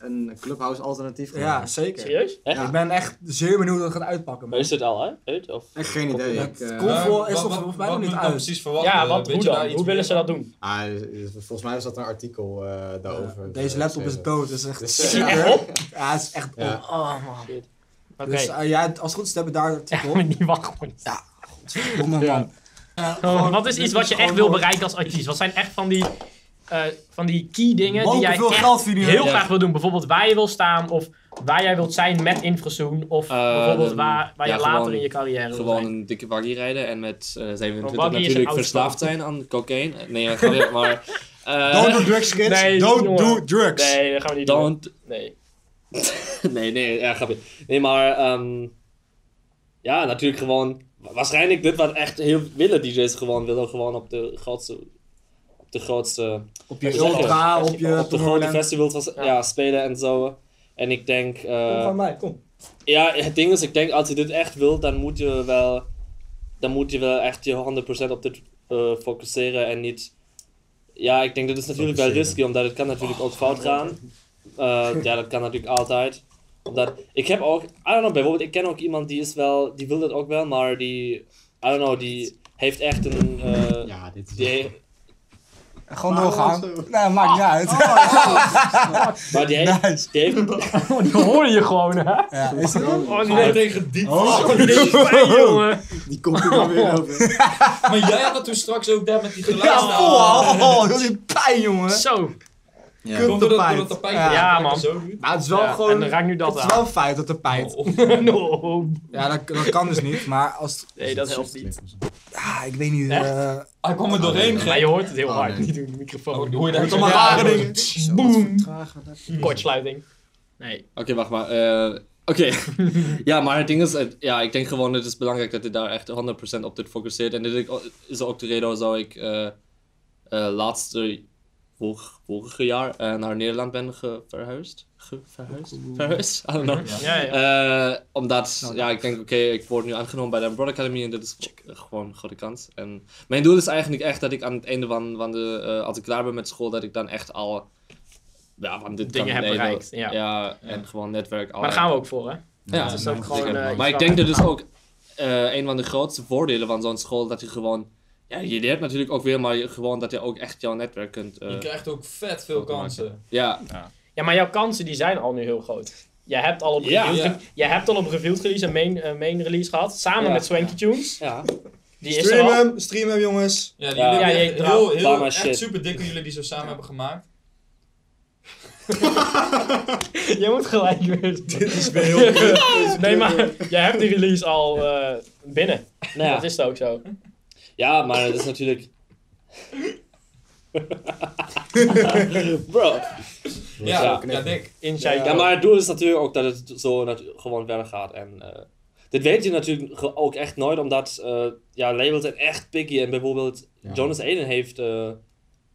Speaker 4: een Clubhouse alternatief.
Speaker 3: Ja, zeker.
Speaker 1: serieus?
Speaker 5: Echt?
Speaker 3: Ik ben echt zeer benieuwd hoe het gaat uitpakken.
Speaker 5: Maar
Speaker 3: man.
Speaker 5: is dit al uit? uit? Of?
Speaker 4: Echt geen idee. Ik, eh,
Speaker 3: Komt
Speaker 2: Maar
Speaker 3: voor-
Speaker 2: Nou, wat-
Speaker 3: is toch
Speaker 2: wat-
Speaker 3: volgens mij
Speaker 2: wat
Speaker 3: nog niet
Speaker 2: moet ik
Speaker 3: uit?
Speaker 2: dan precies verwachten?
Speaker 1: Ja, want
Speaker 2: Weet
Speaker 1: hoe
Speaker 2: je daar
Speaker 1: dan?
Speaker 2: eh, iets
Speaker 1: Hoe willen
Speaker 2: meer
Speaker 1: ze dat
Speaker 2: van?
Speaker 1: doen?
Speaker 4: ah, eh, volgens mij was dat een artikel eh, daarover.
Speaker 3: Deze
Speaker 4: eh,
Speaker 3: laptop is
Speaker 4: geschreven.
Speaker 3: dood, dus echt...
Speaker 4: Dus,
Speaker 1: Zit
Speaker 4: eh,
Speaker 1: die
Speaker 3: ziek,
Speaker 1: echt
Speaker 3: hè?
Speaker 1: op?
Speaker 3: Ja, het is echt...
Speaker 4: Ja.
Speaker 3: on- Oh, man.
Speaker 1: Oké.
Speaker 3: Dus eh, ja, als het goed is, hebben we daar een
Speaker 1: Ja,
Speaker 3: artikel.
Speaker 1: maar die wacht gewoon.
Speaker 3: Kom maar, man.
Speaker 6: Eh,
Speaker 3: Ja,
Speaker 5: Oh.
Speaker 3: gewoon-
Speaker 1: Oh, Wat is
Speaker 3: dit
Speaker 1: iets wat je echt
Speaker 3: gewoon
Speaker 1: wil
Speaker 3: mooi.
Speaker 1: bereiken als artiest? Wat zijn echt van die, eh, van die key dingen die
Speaker 3: Boven
Speaker 1: jij
Speaker 3: veel
Speaker 1: echt
Speaker 3: geld verdienen.
Speaker 1: heel
Speaker 5: Ja.
Speaker 1: graag wil doen? Bijvoorbeeld waar je wil staan of waar jij wilt zijn met Infrasoon. Of
Speaker 5: Eh,
Speaker 1: bijvoorbeeld
Speaker 5: dan-
Speaker 1: waar, waar
Speaker 5: ja,
Speaker 1: je later
Speaker 5: gewoon-
Speaker 1: in je carrière wil
Speaker 5: Gewoon
Speaker 1: zijn.
Speaker 5: een dikke waggie rijden en met eh, 27
Speaker 1: waggie is een
Speaker 5: natuurlijk
Speaker 1: oud
Speaker 5: verslaafd zijn aan cocaïne. Nee, ja, grapje, maar... eh,
Speaker 3: Don't do drugs, kids.
Speaker 1: Nee,
Speaker 3: Don't
Speaker 1: jongen.
Speaker 3: do drugs.
Speaker 1: Nee, dat gaan we niet doen.
Speaker 5: don't
Speaker 1: Nee.
Speaker 5: Nee, nee, ja, grapje. Nee, maar ehm, ja, natuurlijk gewoon. wa- Waarschijnlijk dit wat echt heel willen DJ's gewoon willen gewoon op de grootste, op de grootste,
Speaker 3: Op
Speaker 5: je
Speaker 3: je
Speaker 5: ultra,
Speaker 3: ultra,
Speaker 1: op
Speaker 3: op je
Speaker 5: op de grote
Speaker 3: Tomorrowland.
Speaker 5: festivals was- ja.
Speaker 1: Ja.
Speaker 5: spelen en zo. En ik denk, eh,
Speaker 3: Kom van mij, kom.
Speaker 5: ja, het ding is, ik denk als je dit echt wil, dan moet je wel, dan moet je wel echt je 100% op dit eh, focusseren en niet. Ja, ik denk dat is natuurlijk wel
Speaker 4: Focusseren.
Speaker 5: risky, omdat het kan natuurlijk ook fout gaan. Eh, ja, dat kan natuurlijk altijd. Omdat, ik heb ook, I don't know, bijvoorbeeld, ik ken ook iemand die is wel, die wil dat ook wel, maar die, I don't know, die heeft echt een, eh,
Speaker 4: Ja, dit is...
Speaker 5: die he-
Speaker 3: Eh, Gewoon
Speaker 6: Ah,
Speaker 4: Maar
Speaker 3: doorgaan.
Speaker 4: dat zo.
Speaker 3: Nee, maakt niet uit.
Speaker 5: maar die heeft,
Speaker 3: Nice.
Speaker 5: die heeft,
Speaker 1: Oh, die hoor je gewoon, hè?
Speaker 3: Ja, is het hem?
Speaker 1: Oh,
Speaker 2: Maar
Speaker 1: nee.
Speaker 2: tegen diep.
Speaker 1: Oh, dit is fijn, jongen.
Speaker 4: Die komt er dan weer over.
Speaker 2: Maar jij had dat toen straks ook daar met die
Speaker 3: Ja,
Speaker 2: geluidsnaal.
Speaker 3: oh, oh, oh, dat is een pijn, jongen.
Speaker 1: Zo.
Speaker 4: Ja.
Speaker 6: Kunt
Speaker 2: Komt door dat, door dat
Speaker 6: tapijt. Ja.
Speaker 2: tapijt.
Speaker 1: Ja,
Speaker 2: dat
Speaker 1: man.
Speaker 2: Zo doet.
Speaker 6: Maar het is wel
Speaker 1: Ja,
Speaker 6: gewoon...
Speaker 1: En dan raak ik nu
Speaker 6: het
Speaker 1: dat
Speaker 6: is
Speaker 1: aan. Oh.
Speaker 6: wel een feit, dat tapijt.
Speaker 1: no.
Speaker 6: Ja, dat, dat kan dus niet, maar als...
Speaker 1: Nee, dat helpt niet.
Speaker 6: Ja, ik weet niet.
Speaker 1: Echt?
Speaker 6: eh,
Speaker 2: Hij kwam er doorheen,
Speaker 1: Maar
Speaker 2: gek.
Speaker 1: je hoort het heel
Speaker 4: Oh,
Speaker 1: hard,
Speaker 4: nee.
Speaker 1: niet door de microfoon.
Speaker 2: Oh, hoor je daar
Speaker 6: Het is allemaal rare
Speaker 2: Ja,
Speaker 6: dingen.
Speaker 1: Boom.
Speaker 4: Oké,
Speaker 1: Kortsluiting. Nee.
Speaker 5: wacht maar. eh, Oké. ja, maar het ding is, eh, ja, ik denk gewoon, het is belangrijk dat je daar echt 100% op dit focuseert. En dit is ook de reden waarom ik eh, eh, laatste, vorig, vorige jaar eh, naar Nederland ben ge- verhuisd. Ge- verhuisd? Verhuisd? I don't know.
Speaker 1: Ja, ja. Nou,
Speaker 5: Eh, omdat, ja, ik denk, oké, ik word nu aangenomen bij de Broad Academy en dit is eh, gewoon een grote kans. En mijn doel is eigenlijk echt dat ik aan het einde van, van de, eh, als ik klaar ben met school, dat ik dan echt al, ja, van dit
Speaker 1: Dingen
Speaker 5: kan
Speaker 1: heb
Speaker 5: ik leren.
Speaker 1: bereikt, ja.
Speaker 5: en gewoon netwerk.
Speaker 1: Maar daar gaan we ook voor, hè?
Speaker 5: Ja,
Speaker 1: Dat is ook
Speaker 5: zeker.
Speaker 1: gewoon... eh, iets
Speaker 5: maar ik
Speaker 1: waar
Speaker 5: denk
Speaker 1: we-
Speaker 5: dat dus ook eh, een van de grootste voordelen van zo'n school, dat je gewoon, ja, je leert natuurlijk ook weer, maar je, gewoon dat je ook echt jouw netwerk kunt, eh,
Speaker 2: Je krijgt ook vet veel kansen.
Speaker 5: ja.
Speaker 1: Ja, maar jouw kansen die zijn al nu heel groot. Je hebt al op
Speaker 5: Ja.
Speaker 1: revealed,
Speaker 2: Ja.
Speaker 1: je hebt al op revealed release en main, eh, main release gehad. Samen
Speaker 5: Ja.
Speaker 1: met Swanky Tunes.
Speaker 5: ja.
Speaker 1: Die is er
Speaker 6: Stream
Speaker 1: al.
Speaker 6: hem, stream hem jongens.
Speaker 2: Ja, die
Speaker 5: Ja.
Speaker 2: jullie
Speaker 1: Ja,
Speaker 2: hebben
Speaker 1: die-
Speaker 2: echt
Speaker 1: nou,
Speaker 2: heel, heel,
Speaker 5: Bama
Speaker 2: echt
Speaker 5: shit.
Speaker 2: super dik hoe jullie die zo samen hebben gemaakt.
Speaker 1: Jij moet gelijk weer.
Speaker 6: Dit is weer heel goed.
Speaker 1: Nee, maar jij hebt die release al eh, binnen.
Speaker 5: Nou ja.
Speaker 1: Dat is ook zo.
Speaker 5: Ja, maar het is natuurlijk. Bro.
Speaker 2: Ja,
Speaker 5: zo
Speaker 2: ja,
Speaker 4: knippen.
Speaker 2: dik.
Speaker 1: Inside
Speaker 5: Ja,
Speaker 1: joke.
Speaker 5: maar het doel is natuurlijk ook dat het zo nat- gewoon verder gaat. En eh, dit weet je natuurlijk ge- ook echt nooit, omdat eh, ja, labels zijn echt picky. En bijvoorbeeld,
Speaker 4: Ja.
Speaker 5: Jonas Aiden heeft eh,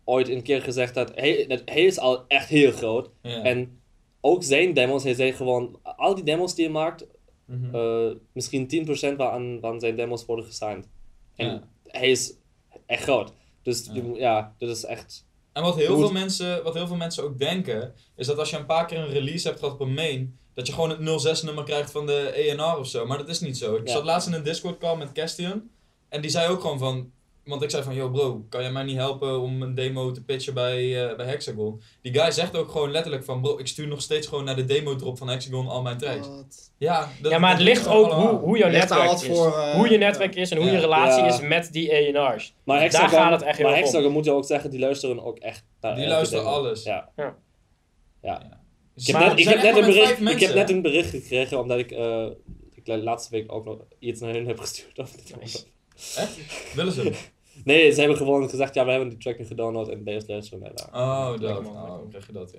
Speaker 5: ooit een keer gezegd dat hij, dat hij is al echt heel groot.
Speaker 2: Ja.
Speaker 5: En ook zijn demos, hij zei gewoon, al die demos die hij maakt,
Speaker 2: Mhm.
Speaker 5: eh, misschien 10% van, van zijn demos worden gesigned. En
Speaker 2: Ja.
Speaker 5: hij is echt groot. Dus
Speaker 2: Ja.
Speaker 5: je moet- ja, dat is echt.
Speaker 2: En wat heel,
Speaker 5: Goed.
Speaker 2: veel mensen, wat heel veel mensen ook denken, is dat als je een paar keer een release hebt gehad op een main, dat je gewoon het 06 nummer krijgt van de ENR of zo. Maar dat is niet zo. Ik
Speaker 5: Ja.
Speaker 2: zat laatst in een Discord call met Castian en die zei ook gewoon van, want ik zei van, yo bro, kan jij mij niet helpen om een demo te pitchen bij, eh, bij Hexagon? Die guy zegt ook gewoon letterlijk van, bro, ik stuur nog steeds gewoon naar de demo drop van Hexagon al mijn tracks. Ja, dat-
Speaker 1: Ja, maar het
Speaker 2: dat
Speaker 1: ligt
Speaker 2: doen we
Speaker 1: ook
Speaker 2: allemaal.
Speaker 1: hoe, hoe jouw
Speaker 4: Ligt daar
Speaker 1: netwerk
Speaker 4: wat
Speaker 1: is.
Speaker 4: voor, eh,
Speaker 1: hoe je netwerk is en hoe
Speaker 2: Ja.
Speaker 1: je relatie
Speaker 5: Ja.
Speaker 1: is met die ENR's.
Speaker 5: Maar
Speaker 1: Daar
Speaker 5: Hexagon,
Speaker 1: gaat het echt heel
Speaker 5: maar
Speaker 1: erg om.
Speaker 5: Hexagon moet je ook zeggen, die luisteren ook echt naar
Speaker 2: Die
Speaker 5: elke
Speaker 2: luisteren
Speaker 5: demo.
Speaker 2: alles.
Speaker 5: Ja.
Speaker 1: Ja.
Speaker 5: Ja. Ik
Speaker 2: Maar
Speaker 5: heb, net,
Speaker 2: het
Speaker 5: ik,
Speaker 2: zijn
Speaker 5: heb net
Speaker 2: echt maar
Speaker 5: een bericht,
Speaker 2: vijf
Speaker 5: ik heb
Speaker 2: mensen.
Speaker 5: net een bericht gekregen omdat ik, eh, ik la- laatste week ook nog iets naar hun heb gestuurd. over dit
Speaker 1: Nice.
Speaker 5: onderwerp.
Speaker 2: Willen ze?
Speaker 5: Nee, ze hebben gewoon gezegd, ja, we hebben die track nu gedownload en deze luisteren wij naar.
Speaker 2: Oh, dat.
Speaker 1: man, lekker
Speaker 2: Oh,
Speaker 1: man.
Speaker 2: dan krijg je dat,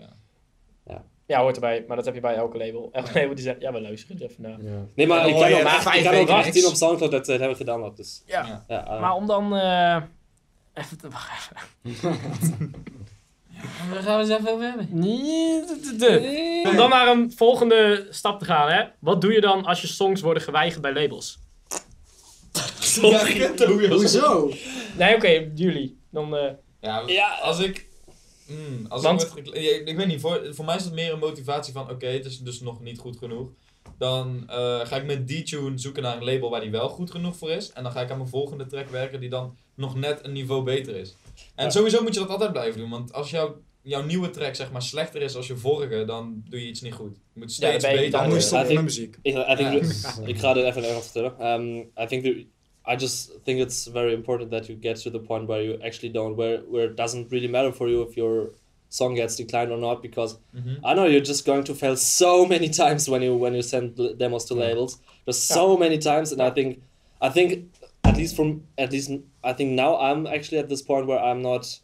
Speaker 2: ja.
Speaker 1: Ja, hoort erbij. Maar dat heb je bij elke label. Elke label die zegt, ja, we luisteren er even naar.
Speaker 5: Nee, maar
Speaker 4: Dan
Speaker 5: ik
Speaker 4: hoor
Speaker 5: kan
Speaker 4: je
Speaker 5: ook,
Speaker 4: na
Speaker 5: ik
Speaker 4: vijf
Speaker 5: kan ook
Speaker 4: weken
Speaker 5: laten zien
Speaker 4: niks.
Speaker 5: op Soundcloud dat ze het hebben gedownload. Dus,
Speaker 1: Ja.
Speaker 2: Ja.
Speaker 5: ja, eh,
Speaker 1: Maar om dan... eh, even te wacht even.
Speaker 7: We Ah, gaan eens even over hebben.
Speaker 1: Nee, de- de- de. Om dan naar een volgende stap te gaan, hè. Wat doe je dan als je songs worden geweigerd bij labels?
Speaker 4: Hoezo?
Speaker 1: Nee, oké, jullie. Dan, eh,
Speaker 2: Ja,
Speaker 5: Ja,
Speaker 2: als ik... Mm, als
Speaker 1: Want-
Speaker 2: ik, word gekle- ja, ik weet niet, voor, voor mij is het meer een motivatie van... Oké, het is dus nog niet goed genoeg. Dan eh, ga ik met D-Tune zoeken naar een label waar die wel goed genoeg voor is. En dan ga ik aan mijn volgende track werken die dan nog net een niveau beter is. En
Speaker 5: Ja.
Speaker 2: sowieso moet je dat altijd blijven doen. Want als jouw, jouw nieuwe track zeg maar slechter is als je vorige... dan doe je iets niet goed. Je moet
Speaker 1: Ja, dan
Speaker 2: steeds
Speaker 1: ben je
Speaker 2: beter
Speaker 1: niet
Speaker 6: Dan moet je
Speaker 2: worden.
Speaker 5: Ja,
Speaker 6: stoppen met
Speaker 5: ik-
Speaker 6: muziek.
Speaker 5: Ik, I think
Speaker 2: Ja.
Speaker 5: that- ik ga dit even in Engels vertellen. Um, I think that, I just think it's very important that you get to the point where you actually don't where where it doesn't really matter for you if your song gets declined or not because
Speaker 2: Mhm.
Speaker 5: I know you're just going to fail so many times when you when you send l- demos to labels. There's so many times, and I think I think at least from at least I think now I'm actually at this point where I'm not.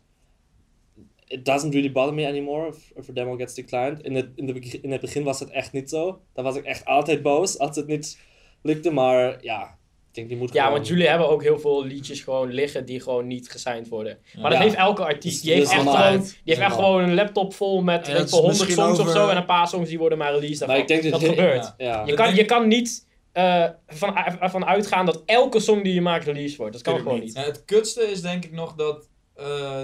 Speaker 5: It doesn't really bother me anymore if, if a demo gets declined. In het, in, de, beg- in het begin was dat echt niet zo. Dan was ik echt altijd boos als het niet lukte. Maar ja, ik denk die moet
Speaker 1: ja,
Speaker 5: gewoon-
Speaker 1: want jullie hebben ook heel veel liedjes gewoon liggen die gewoon niet gesigned worden. Maar dat
Speaker 5: Ja.
Speaker 1: heeft elke artiest. Die
Speaker 5: Dat
Speaker 1: heeft
Speaker 5: is
Speaker 1: echt
Speaker 5: normaal.
Speaker 1: gewoon, die heeft
Speaker 5: is
Speaker 1: echt
Speaker 5: normaal.
Speaker 1: gewoon een laptop vol met
Speaker 6: En
Speaker 1: weet
Speaker 6: dat
Speaker 1: ik veel,
Speaker 6: is
Speaker 1: 100 songs
Speaker 6: misschien
Speaker 1: of zo
Speaker 6: over- Nou,
Speaker 1: en een paar songs die worden maar released.
Speaker 5: Maar ik denk dat
Speaker 1: dat
Speaker 5: je-
Speaker 1: gebeurt.
Speaker 2: ja.
Speaker 5: Ja.
Speaker 1: Je
Speaker 2: Dat
Speaker 1: kan,
Speaker 2: denk
Speaker 1: je
Speaker 2: ik-
Speaker 1: kan niet eh van, ervan uitgaan dat elke song die je maakt released wordt. Dat kan
Speaker 6: Tuurlijk
Speaker 1: gewoon niet.
Speaker 2: Ja, het kutste is denk ik nog dat eh,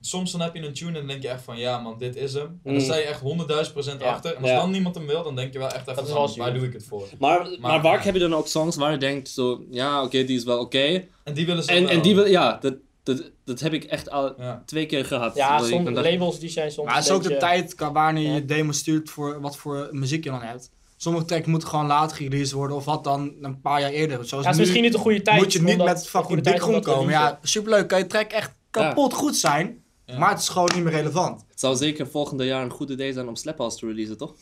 Speaker 2: soms dan heb je een tune en dan denk je echt van ja man, dit is hem. En
Speaker 5: Mm.
Speaker 2: dan sta je echt 100.000 procent
Speaker 1: Ja.
Speaker 2: achter. En als
Speaker 5: Ja.
Speaker 2: dan niemand hem wil, dan denk je wel echt even
Speaker 1: is
Speaker 2: van
Speaker 1: wel zuur.
Speaker 2: waar doe ik het voor?
Speaker 5: Maar, maar,
Speaker 2: Maar-
Speaker 5: vaak heb je dan ook songs waar je denkt zo, ja, oké, die is wel oké.
Speaker 2: En die willen ze
Speaker 5: En,
Speaker 2: wel.
Speaker 5: en die wil, ja, dat, dat, dat heb ik echt al
Speaker 2: Ja.
Speaker 5: twee keer gehad.
Speaker 1: Ja,
Speaker 5: Dat ik
Speaker 1: soms
Speaker 5: dan dacht,
Speaker 1: labels die zijn soms
Speaker 6: Maar het is
Speaker 1: een
Speaker 6: ook de
Speaker 1: beetje-
Speaker 6: tijd ka- wanneer
Speaker 1: Ja.
Speaker 6: je demo stuurt voor wat voor muziek je dan hebt. Sommige tracks moeten gewoon later gereleased worden of wat dan een paar jaar eerder. Zoals
Speaker 1: Ja, het is
Speaker 6: nu
Speaker 1: misschien niet de goede tijd.
Speaker 6: moet je niet
Speaker 1: omdat-
Speaker 6: met
Speaker 1: goede
Speaker 6: fucking
Speaker 1: tijd
Speaker 6: dik
Speaker 1: om dat
Speaker 6: rondkomen.
Speaker 1: te
Speaker 6: Ja, superleuk. Kan je track echt kapot goed zijn.
Speaker 2: Ja.
Speaker 3: Maar het is gewoon niet meer relevant.
Speaker 5: Het zou zeker volgende jaar een goed idee zijn om Slaphouse te releasen, toch?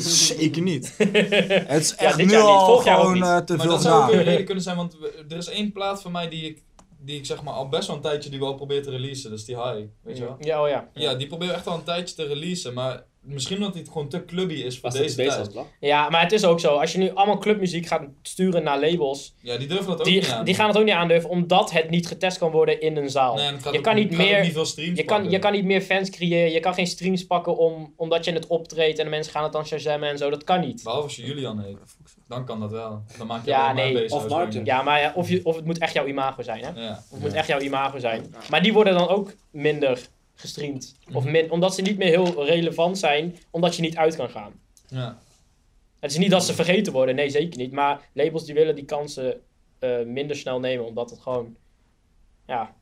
Speaker 3: Zeker niet. Het is
Speaker 1: Ja,
Speaker 3: echt
Speaker 1: dit
Speaker 3: nu
Speaker 1: jaar niet,
Speaker 3: al
Speaker 1: volgend jaar ook
Speaker 3: gewoon
Speaker 1: niet.
Speaker 3: eh, te
Speaker 2: Maar
Speaker 3: veel
Speaker 2: dat zou ook
Speaker 3: gedaan.
Speaker 2: een reden kunnen zijn, want we- er is één plaat van mij die ik, die ik zeg maar al best wel een tijdje die wel probeer te releasen. Dat is die high, weet je wel.
Speaker 1: Ja, oh ja.
Speaker 2: Ja, die probeer ik echt al een tijdje te releasen, maar misschien omdat die het gewoon te clubby is voor
Speaker 5: Was dat
Speaker 2: deze
Speaker 5: bezig
Speaker 2: tijd.
Speaker 5: was, bla?
Speaker 1: Ja, maar het is ook zo. Als je nu allemaal clubmuziek gaat sturen naar labels,
Speaker 2: Ja, die durven dat ook niet
Speaker 1: die,
Speaker 2: aan.
Speaker 1: die gaan het ook niet aandurven, omdat het niet getest kan worden in een zaal.
Speaker 2: Nee, eh, en het gaat
Speaker 1: je
Speaker 2: ook-
Speaker 1: kan niet
Speaker 2: het gaat ook
Speaker 1: meer-
Speaker 2: niet veel streams
Speaker 1: Je kan, je
Speaker 2: pakken.
Speaker 1: kan niet meer fans creëren, je kan geen streams pakken om, omdat je het optreedt en de mensen gaan het dan shazammen en zo, dat kan niet.
Speaker 2: Behalve als je Julian heet, dan kan dat wel. Dan maak je
Speaker 1: Ja,
Speaker 2: alleen maar
Speaker 1: nee.
Speaker 2: een bezig.
Speaker 5: Of Martin.
Speaker 1: Ja, maar ja, of, je, of het moet echt jouw imago zijn, hè? Of
Speaker 2: Ja.
Speaker 1: het moet echt jouw imago zijn. Maar die worden dan ook minder gestreamd.
Speaker 2: Mhm.
Speaker 1: Of min, omdat ze niet meer heel relevant zijn, omdat je niet uit kan gaan.
Speaker 2: Ja.
Speaker 1: Het is niet dat ze vergeten worden, nee zeker niet. Maar labels die willen die kansen eh, minder snel nemen, omdat het gewoon, ja,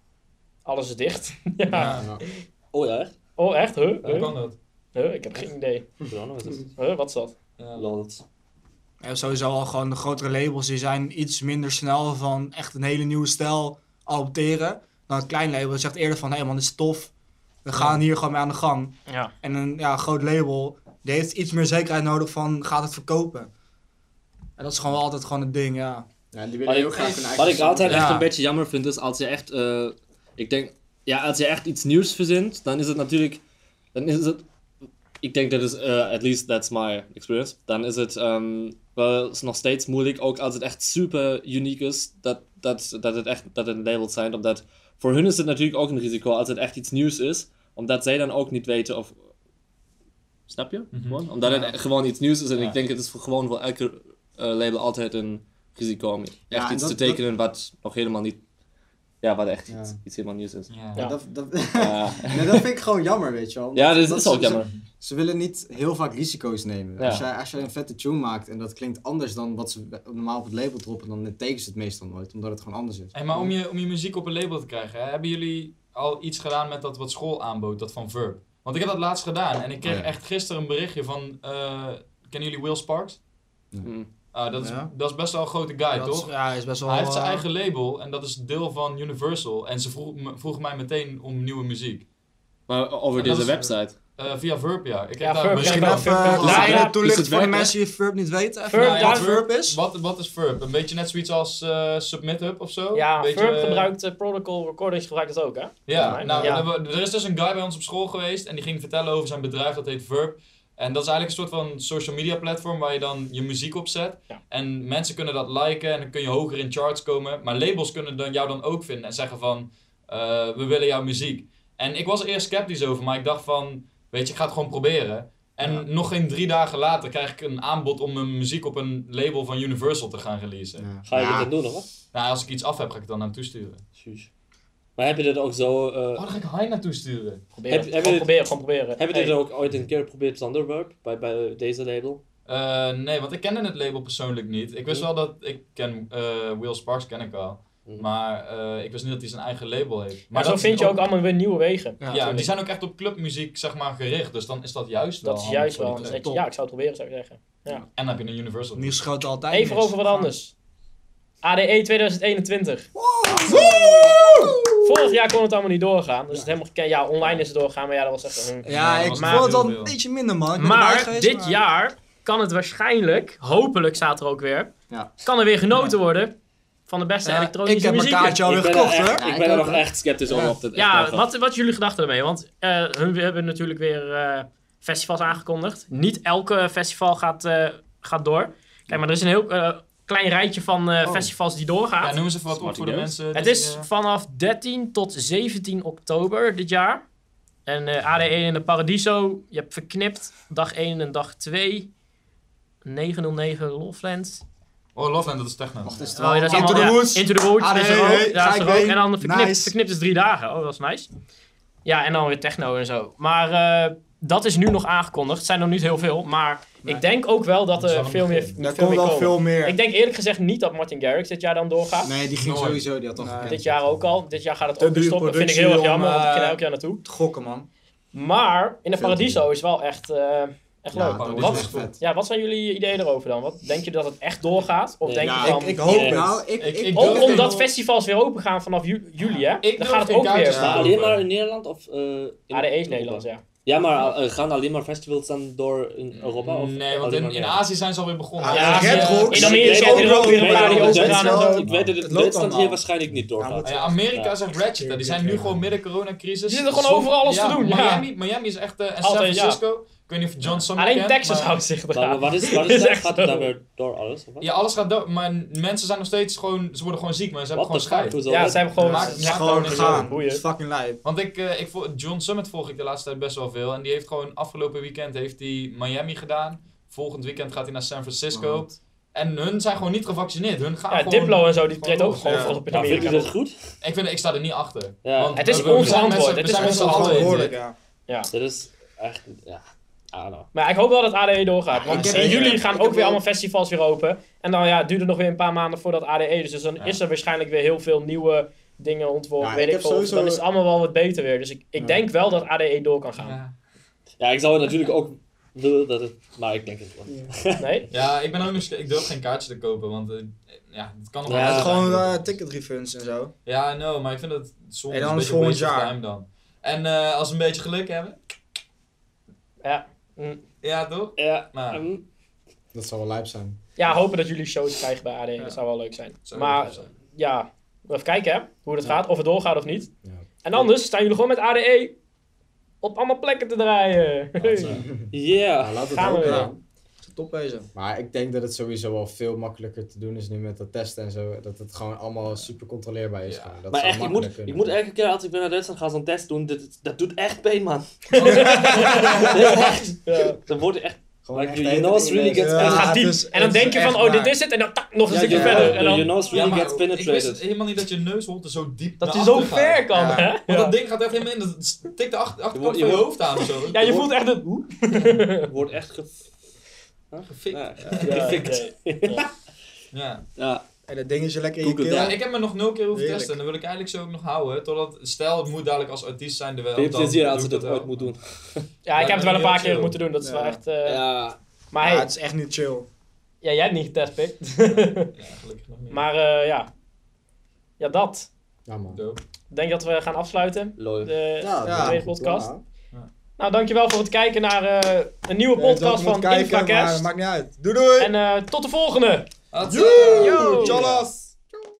Speaker 1: alles is dicht. ja.
Speaker 2: Ja.
Speaker 5: Oh ja, echt?
Speaker 1: Oh echt? Huh?
Speaker 2: Hoe
Speaker 1: Huh?
Speaker 2: kan dat?
Speaker 1: Huh? Ik heb geen idee.
Speaker 5: Ik weet nog wat het is.
Speaker 1: Huh? Wat is dat?
Speaker 2: Ja.
Speaker 5: Lol, dat is-
Speaker 3: Ja, sowieso al gewoon de grotere labels die zijn iets minder snel van echt een hele nieuwe stijl adopteren. Dan een klein label dat zegt eerder van hé man, dit is tof. We gaan hier gewoon mee aan de gang.
Speaker 1: Ja.
Speaker 3: En een ja, groot label die heeft iets meer zekerheid nodig van gaat het verkopen. En dat is gewoon wel altijd gewoon het ding, ja.
Speaker 4: Ja, die willen
Speaker 5: Wat
Speaker 4: heel
Speaker 5: ik,
Speaker 4: graag hun eigen
Speaker 5: wat ik altijd echt
Speaker 3: Ja.
Speaker 5: een beetje jammer vind is als je echt, eh, ik denk, ja, als je echt iets nieuws verzint, dan is het natuurlijk, dan is het, ik denk dat is, eh, at least that's my experience, dan is het ehm, wel is nog steeds moeilijk, ook als het echt super uniek is, dat, dat, dat het echt, dat het labels zijn, omdat voor hun is het natuurlijk ook een risico als het echt iets nieuws is, omdat zij dan ook niet weten of, snap je?
Speaker 2: Mhm.
Speaker 5: Gewoon? Omdat
Speaker 2: Ja.
Speaker 5: het gewoon iets nieuws is en
Speaker 2: Ja.
Speaker 5: ik denk het is voor, gewoon voor elke eh, label altijd een risico om echt
Speaker 4: Ja, en
Speaker 5: iets
Speaker 4: dat-
Speaker 5: te tekenen wat nog helemaal niet. Ja, wat echt
Speaker 4: Ja.
Speaker 5: iets, iets helemaal nieuws is.
Speaker 2: Ja.
Speaker 1: Ja.
Speaker 4: Dat, dat,
Speaker 5: Ja,
Speaker 4: nee, dat vind ik gewoon jammer, weet je wel.
Speaker 5: ja dat,
Speaker 4: Dat
Speaker 5: is ook
Speaker 4: ze-
Speaker 5: jammer.
Speaker 4: Ze willen niet heel vaak risico's nemen.
Speaker 5: Ja.
Speaker 4: Als, jij, als jij een vette tune maakt en dat klinkt anders dan wat ze normaal op het label droppen, dan tekenen ze het meestal nooit, omdat het gewoon anders is.
Speaker 2: Hey, maar om je, om je muziek op een label te krijgen, hè, hebben jullie al iets gedaan met dat wat school aanbood, dat van Verb? Want ik heb dat laatst gedaan en ik kreeg
Speaker 4: Oh ja.
Speaker 2: echt gisteren een berichtje van, eh, kennen jullie Will Sparks?
Speaker 5: Hm.
Speaker 2: Ah, dat, is,
Speaker 3: Ja.
Speaker 2: dat is best wel een grote guy,
Speaker 3: dat
Speaker 2: toch?
Speaker 3: Is, ja, is best wel...
Speaker 2: Hij heeft zijn
Speaker 3: eh,
Speaker 2: eigen label en dat is deel van Universal. En ze vroeg, me- vroeg mij meteen om nieuwe muziek.
Speaker 5: Maar over
Speaker 2: En dat
Speaker 5: deze
Speaker 2: is-
Speaker 5: website.
Speaker 2: Eh, via Verb, ja. Ik heb
Speaker 1: Ja,
Speaker 2: daar
Speaker 1: Verb,
Speaker 2: misschien
Speaker 3: Misschien
Speaker 1: Ja,
Speaker 2: wel-
Speaker 1: dat-
Speaker 3: even
Speaker 1: Verb-
Speaker 3: laat
Speaker 1: Ja,
Speaker 3: dat
Speaker 5: is het
Speaker 3: toelichten voor de
Speaker 5: werk, hè?
Speaker 3: mensen die Verb niet weten. Even
Speaker 1: Verb,
Speaker 3: nou ja, wat
Speaker 1: daar-
Speaker 3: Verb is.
Speaker 2: Wat, wat is Verb? Een beetje net zoiets als eh, Submit Hub of zo?
Speaker 1: Ja,
Speaker 2: Een beetje,
Speaker 1: Verb
Speaker 2: eh,
Speaker 1: gebruikt eh, Protocol Recordings, gebruikt het ook, hè?
Speaker 2: Ja, nou,
Speaker 1: Ja.
Speaker 2: en we- er is dus een guy bij ons op school geweest en die ging vertellen over zijn bedrijf, dat heet Verb. En dat is eigenlijk een soort van social media platform waar je dan je muziek op zet.
Speaker 1: Ja.
Speaker 2: En mensen kunnen dat liken en dan kun je hoger in charts komen. Maar labels kunnen dan jou dan ook vinden en zeggen van, eh, we willen jouw muziek. En ik was er eerst sceptisch over, maar ik dacht van, weet je, ik ga het gewoon proberen. En nog geen drie dagen later krijg ik een aanbod om mijn muziek op een label van Universal te gaan releasen.
Speaker 4: Ja.
Speaker 5: Ga je
Speaker 4: Ja.
Speaker 5: dit dan doen of wat?
Speaker 2: Nou, als ik iets af heb, ga ik het dan naar hem toesturen.
Speaker 5: Sjoes. Maar heb je dit ook zo. eh,
Speaker 2: Oh, dan ga ik Hein naartoe sturen.
Speaker 1: Proberen.
Speaker 5: Heb- hebben
Speaker 1: gewoon
Speaker 5: dit-
Speaker 1: proberen, gewoon proberen.
Speaker 5: Heb je dit
Speaker 1: Hey.
Speaker 5: ook ooit een keer geprobeerd zonder Verb? Bij, bij deze label?
Speaker 2: Eh, nee, want ik kende het label persoonlijk niet. Ik wist wel dat ik ken eh, Will Sparks ken ik al,
Speaker 5: Mhm.
Speaker 2: maar eh, ik wist niet dat hij zijn eigen label heeft.
Speaker 1: Maar zo
Speaker 2: dat is
Speaker 1: vind je ook allemaal weer nieuwe wegen.
Speaker 3: Ja,
Speaker 2: Ja,
Speaker 1: natuurlijk.
Speaker 2: die zijn ook echt op clubmuziek zeg maar gericht, dus dan is dat juist wel.
Speaker 1: Dat is
Speaker 2: handig
Speaker 1: juist
Speaker 2: voor
Speaker 1: wel.
Speaker 2: die
Speaker 1: Dan
Speaker 2: club.
Speaker 1: denk je, ja, ik zou het proberen, zou ik zeggen.
Speaker 2: En dan heb je een Universal.
Speaker 3: Nieuws schoot altijd
Speaker 1: Even
Speaker 3: mis.
Speaker 1: over wat anders. E ADE 2021. Vorig jaar kon het allemaal niet doorgaan. Dus het helemaal geken- Ja, online is het doorgaan, maar ja, dat was echt. een-
Speaker 3: Ja,
Speaker 2: Ja,
Speaker 3: ik
Speaker 2: dat
Speaker 1: was
Speaker 3: vond het
Speaker 2: heel
Speaker 3: wel
Speaker 2: veel.
Speaker 3: een beetje minder, man. Ik ben erbij
Speaker 1: Maar
Speaker 3: geweest,
Speaker 1: dit
Speaker 3: maar-
Speaker 1: jaar kan het waarschijnlijk, hopelijk staat er ook weer,
Speaker 4: Ja.
Speaker 1: kan er weer genoten worden van de beste
Speaker 3: Ja,
Speaker 1: elektronische
Speaker 3: Ik heb mijn
Speaker 1: muziek.
Speaker 3: kaartje
Speaker 5: ik
Speaker 3: alweer
Speaker 5: ben,
Speaker 3: gekocht,
Speaker 5: er
Speaker 3: hoor.
Speaker 5: echt,
Speaker 4: Ja,
Speaker 5: ik
Speaker 4: ik
Speaker 5: ben er
Speaker 4: ook,
Speaker 5: nog
Speaker 4: hè.
Speaker 5: echt sceptisch over.
Speaker 3: Ja.
Speaker 5: Of dit echt wel
Speaker 1: Ja,
Speaker 5: gaat.
Speaker 1: wat, wat is jullie gedachten ermee? Want eh, hun hebben natuurlijk weer eh, festivals aangekondigd. Niet elke festival gaat, eh, gaat door. Kijk, maar er is een heel eh, klein rijtje van eh,
Speaker 4: Oh.
Speaker 1: festivals die doorgaan.
Speaker 2: Ja, noem eens even wat op voor de
Speaker 5: Smarty
Speaker 2: mensen. eh,
Speaker 1: Het
Speaker 2: die-
Speaker 1: is vanaf 13 tot 17 oktober dit jaar. En eh, ADE in de Paradiso. Je hebt verknipt dag 1 en dag 2. 909 Lofland.
Speaker 2: Oh, Loveland, dat is techno.
Speaker 4: Wacht, is het
Speaker 1: Oh, ja, dat is
Speaker 3: Into
Speaker 1: allemaal-
Speaker 3: the
Speaker 1: ja,
Speaker 3: Woods.
Speaker 1: Into the Woods
Speaker 3: ADE,
Speaker 1: is er ook.
Speaker 3: hey,
Speaker 1: Ja,
Speaker 3: ga
Speaker 1: is
Speaker 3: ik
Speaker 1: er ook.
Speaker 3: mee.
Speaker 1: En dan verknipt,
Speaker 3: Nice.
Speaker 1: verknipt is drie dagen. Oh, dat is nice. Ja, en dan weer techno en zo. Maar eh, dat is nu nog aangekondigd. Het zijn er niet heel veel. Maar ik denk ook wel dat
Speaker 2: Dat is
Speaker 1: er
Speaker 2: wel
Speaker 1: veel
Speaker 2: een
Speaker 1: meer,
Speaker 2: begin.
Speaker 3: Daar
Speaker 1: veel
Speaker 3: komt
Speaker 1: meer
Speaker 3: wel
Speaker 1: komen.
Speaker 3: veel
Speaker 1: Ik
Speaker 3: meer.
Speaker 1: denk eerlijk gezegd niet dat Martin Garrix dit jaar dan doorgaat.
Speaker 4: Nee, die ging
Speaker 2: Nooit.
Speaker 4: sowieso, die had toch
Speaker 3: Nee.
Speaker 1: Dit jaar ook al. Dit jaar gaat het
Speaker 3: Te
Speaker 1: ook weer
Speaker 3: duur
Speaker 1: stoppen. Dat vind ik heel erg
Speaker 3: productie
Speaker 1: jammer,
Speaker 3: om,
Speaker 1: want ik ging
Speaker 3: eh,
Speaker 1: elk jaar naartoe.
Speaker 3: Gokken, man.
Speaker 1: Maar in de
Speaker 4: Veel
Speaker 1: Paradiso is wel echt... eh, Echt
Speaker 4: Ja,
Speaker 1: leuk.
Speaker 4: dat is
Speaker 1: wat,
Speaker 4: echt vet.
Speaker 1: ja, wat zijn jullie ideeën erover dan? Wat, denk je dat het echt doorgaat? Of
Speaker 5: Ja,
Speaker 1: denk
Speaker 4: Ja,
Speaker 1: je van...
Speaker 4: ik, ik hoop
Speaker 5: Yes.
Speaker 4: nou. Ik,
Speaker 2: Ik-
Speaker 4: ik,
Speaker 2: ik
Speaker 1: Ook
Speaker 2: durf
Speaker 4: om
Speaker 1: omdat
Speaker 2: geen-
Speaker 1: festivals weer open gaan vanaf ju- juli, hè?
Speaker 2: Ik
Speaker 1: Dan
Speaker 2: durf
Speaker 1: gaat het
Speaker 2: geen
Speaker 1: ook weer.
Speaker 2: kaartjes
Speaker 5: Maar
Speaker 2: te
Speaker 1: Ja,
Speaker 2: kopen.
Speaker 5: alleen maar in Nederland of... eh, in
Speaker 1: Ah, de East Nederlands, ja.
Speaker 5: Ja, maar eh, gaan alleen maar festivals dan door in Europa? Of
Speaker 2: nee, want
Speaker 5: alleen
Speaker 2: in,
Speaker 5: maar
Speaker 2: in
Speaker 5: meer?
Speaker 2: Azië zijn ze alweer begonnen.
Speaker 6: Ah,
Speaker 1: Ja,
Speaker 6: Red
Speaker 1: eh,
Speaker 6: Rocks.
Speaker 1: In Amerika heb je er ook weer een paar die
Speaker 5: Ik weet
Speaker 1: open
Speaker 5: dat-
Speaker 1: gaan en
Speaker 6: Duitsland.
Speaker 1: zo.
Speaker 5: Ik weet dat het in
Speaker 6: loopt
Speaker 5: Duitsland hier
Speaker 6: allemaal.
Speaker 5: waarschijnlijk niet doorgaat.
Speaker 2: Ja, Amerika is echt ratchet. hè. Die zijn nu
Speaker 6: Ja.
Speaker 2: gewoon midden coronacrisis.
Speaker 1: Die zitten gewoon overal alles te doen, ja.
Speaker 2: Miami, Miami is echt... eh, en San
Speaker 1: Altijd, ja.
Speaker 2: Francisco. Ik weet niet of John Summer
Speaker 1: Alleen
Speaker 2: kent,
Speaker 1: Texas
Speaker 2: maar-
Speaker 1: houdt zich
Speaker 5: Maar
Speaker 1: eraan.
Speaker 5: wat is, wat
Speaker 1: Dit
Speaker 5: is
Speaker 1: is
Speaker 5: dat?
Speaker 1: echt
Speaker 5: Gaat
Speaker 1: zo.
Speaker 5: het daar weer door alles? Of wat?
Speaker 2: Ja, alles gaat dood. Maar mensen zijn nog steeds gewoon... Ze worden gewoon ziek, maar ze hebben
Speaker 5: What
Speaker 2: gewoon
Speaker 5: the
Speaker 2: schijt.
Speaker 5: fuck? Hoezo?
Speaker 1: Ja,
Speaker 5: Dat-
Speaker 1: ze hebben gewoon...
Speaker 2: Maakt-
Speaker 6: is
Speaker 2: maakt
Speaker 6: gewoon
Speaker 2: gewoon
Speaker 1: zo,
Speaker 6: gegaan.
Speaker 1: boeien.
Speaker 6: Het is fucking lijp.
Speaker 2: Want ik, eh, ik volg- John Summit volg ik de laatste tijd best wel veel. En die heeft gewoon afgelopen weekend heeft hij Miami gedaan. Volgend weekend gaat hij naar San Francisco. En hun zijn gewoon niet gevaccineerd. Hun gaan
Speaker 1: Ja,
Speaker 2: gewoon...
Speaker 1: Diplo en zo, die treedt ook
Speaker 2: los,
Speaker 1: gewoon
Speaker 2: ja.
Speaker 1: volop in
Speaker 5: Maar vind je
Speaker 1: Amerika.
Speaker 5: dit goed?
Speaker 2: Ik, vind, ik sta er niet achter.
Speaker 5: Ja.
Speaker 1: Het is
Speaker 2: we- we zijn
Speaker 1: onverantwoord.
Speaker 2: met
Speaker 1: Het
Speaker 2: z'n- we
Speaker 1: is
Speaker 2: zijn met z'n allen in
Speaker 6: Verantwoordelijk,
Speaker 2: dit.
Speaker 6: ja.
Speaker 5: Dit is echt... Ja, I don't know.
Speaker 1: Maar ik hoop wel dat ADE doorgaat.
Speaker 4: ik
Speaker 1: Want
Speaker 4: heb-
Speaker 1: in
Speaker 4: ik
Speaker 1: juli
Speaker 4: heb-
Speaker 1: gaan
Speaker 4: ik
Speaker 1: ook
Speaker 4: heb
Speaker 1: weer
Speaker 4: wel-
Speaker 1: allemaal festivals weer open. En dan ja, duurt het nog weer een paar maanden voordat ADE. Dus, dan
Speaker 2: Ja.
Speaker 1: is er waarschijnlijk weer heel veel nieuwe dingen ontworpen.
Speaker 4: Ja,
Speaker 1: weet
Speaker 4: ik
Speaker 1: ik
Speaker 4: heb
Speaker 1: veel. Dus
Speaker 4: sowieso-
Speaker 1: Dan is het allemaal wel wat beter weer. Dus ik, ik
Speaker 4: Ja.
Speaker 1: denk wel dat ADE door kan gaan.
Speaker 2: Ja.
Speaker 5: Ja, ik zou natuurlijk ook willen dat het... Maar ik denk het wel.
Speaker 1: Nee?
Speaker 2: Ja, ik ben ook nog... Ik durf geen kaartje te kopen, want... eh, ja, het kan nog
Speaker 5: Ja,
Speaker 2: wel
Speaker 6: Het is
Speaker 2: zijn.
Speaker 6: gewoon eh, ticket refunds en zo.
Speaker 2: Ja, no, maar ik vind dat soms
Speaker 6: En dan
Speaker 2: een beetje
Speaker 6: volgend
Speaker 2: waste of
Speaker 6: jaar.
Speaker 2: time dan. En eh, als we een beetje geluk hebben...
Speaker 1: Ja. Mm.
Speaker 2: Ja, toch?
Speaker 5: Ja,
Speaker 2: Maar-
Speaker 5: ehm,
Speaker 4: Dat zal wel lijp zijn.
Speaker 1: Ja, hopen dat jullie shows krijgen bij ADE.
Speaker 2: Ja.
Speaker 1: Dat zou wel leuk zijn.
Speaker 2: Zou
Speaker 1: maar
Speaker 2: leuk zijn.
Speaker 1: ja, even kijken hè, hoe dat
Speaker 4: Ja.
Speaker 1: gaat. Of het doorgaat of niet.
Speaker 4: Ja.
Speaker 1: En anders staan jullie gewoon met ADE op allemaal plekken te draaien.
Speaker 5: yeah.
Speaker 4: Nou, laat het
Speaker 1: Gaan we
Speaker 4: hopen,
Speaker 1: weer.
Speaker 4: ja.
Speaker 6: Is het Top bezig.
Speaker 4: Maar ik denk dat het sowieso wel veel makkelijker te doen is nu met dat testen en zo. Dat het gewoon allemaal super controleerbaar is.
Speaker 2: Ja.
Speaker 4: gewoon. Dat
Speaker 5: Maar
Speaker 4: zou
Speaker 5: echt, ik moet,
Speaker 4: makkelijk kunnen.
Speaker 5: ik moet elke keer als ik weer naar Duitsland ga zo'n test doen, dit, dat doet echt pijn, man. dat is echt,
Speaker 1: Ja.
Speaker 5: dat wordt echt...
Speaker 4: Gewoon
Speaker 5: Like,
Speaker 4: echt
Speaker 5: do
Speaker 4: de hele
Speaker 5: you know it's
Speaker 4: dingen
Speaker 5: really gets
Speaker 6: Ja,
Speaker 1: het
Speaker 5: penetrated?
Speaker 6: het
Speaker 1: gaat diep.
Speaker 6: is-
Speaker 1: en dan
Speaker 6: het is
Speaker 1: denk je van,
Speaker 6: echt
Speaker 1: oh,
Speaker 6: waar.
Speaker 1: dit is het. En dan tak, nog een
Speaker 5: Ja,
Speaker 1: stukje
Speaker 5: ja,
Speaker 1: verder.
Speaker 5: do
Speaker 1: En dan,
Speaker 5: you know it's really gets
Speaker 2: ik wist
Speaker 5: penetrated?
Speaker 2: helemaal niet dat je neusholte zo diep
Speaker 1: dat hij
Speaker 2: naar
Speaker 1: zo
Speaker 2: achter gaat.
Speaker 1: ver kan,
Speaker 6: Ja.
Speaker 1: hè?
Speaker 2: Want
Speaker 1: Ja.
Speaker 2: dat ding gaat echt helemaal in. Dat stikt de achter, achterkant
Speaker 5: Je
Speaker 2: van je
Speaker 5: wordt-
Speaker 2: hoofd aan of zo.
Speaker 1: Ja, je voelt echt het...
Speaker 5: Wordt echt ge...
Speaker 2: Gefikt.
Speaker 5: Ja,
Speaker 1: Ja,
Speaker 5: gefikt.
Speaker 2: Ja.
Speaker 5: Ja.
Speaker 6: En dat ding is je lekker in je
Speaker 5: Google
Speaker 6: keel.
Speaker 2: ja, ik heb me nog nul keer hoeven
Speaker 6: Heerlijk.
Speaker 2: testen. En dat wil ik eigenlijk zo ook nog houden. Totdat, stel, het moet dadelijk als artiest zijn er wel.
Speaker 5: Veel
Speaker 2: dan
Speaker 5: plezier als
Speaker 2: doe
Speaker 5: je
Speaker 2: ik
Speaker 5: dat
Speaker 2: wel.
Speaker 5: ooit moet doen.
Speaker 1: ja, ik heb het wel een paar
Speaker 2: Chill.
Speaker 1: keer moeten doen. Dat is wel
Speaker 6: Ja.
Speaker 1: echt... eh,
Speaker 5: Ja.
Speaker 1: Maar
Speaker 6: Ja,
Speaker 1: hey,
Speaker 6: het is echt niet chill.
Speaker 1: ja, jij hebt niet getest, Pik.
Speaker 2: Ja, gelukkig nog niet.
Speaker 1: Maar eh, ja. Ja, dat.
Speaker 4: Ja, man.
Speaker 2: Dope.
Speaker 1: Ik denk dat we gaan afsluiten.
Speaker 5: Lol.
Speaker 1: De, de
Speaker 6: ja.
Speaker 1: tweede podcast.
Speaker 4: Ja.
Speaker 1: Nou, dankjewel voor het kijken naar eh, een nieuwe
Speaker 6: Ik weet dat
Speaker 1: podcast
Speaker 6: je moet
Speaker 1: van
Speaker 6: kijken, maar
Speaker 1: Infracast.
Speaker 6: Maakt niet uit. Doei doei!
Speaker 1: En eh, tot de volgende!
Speaker 2: Had-
Speaker 6: Yo!
Speaker 1: Yo!
Speaker 6: Tjallas!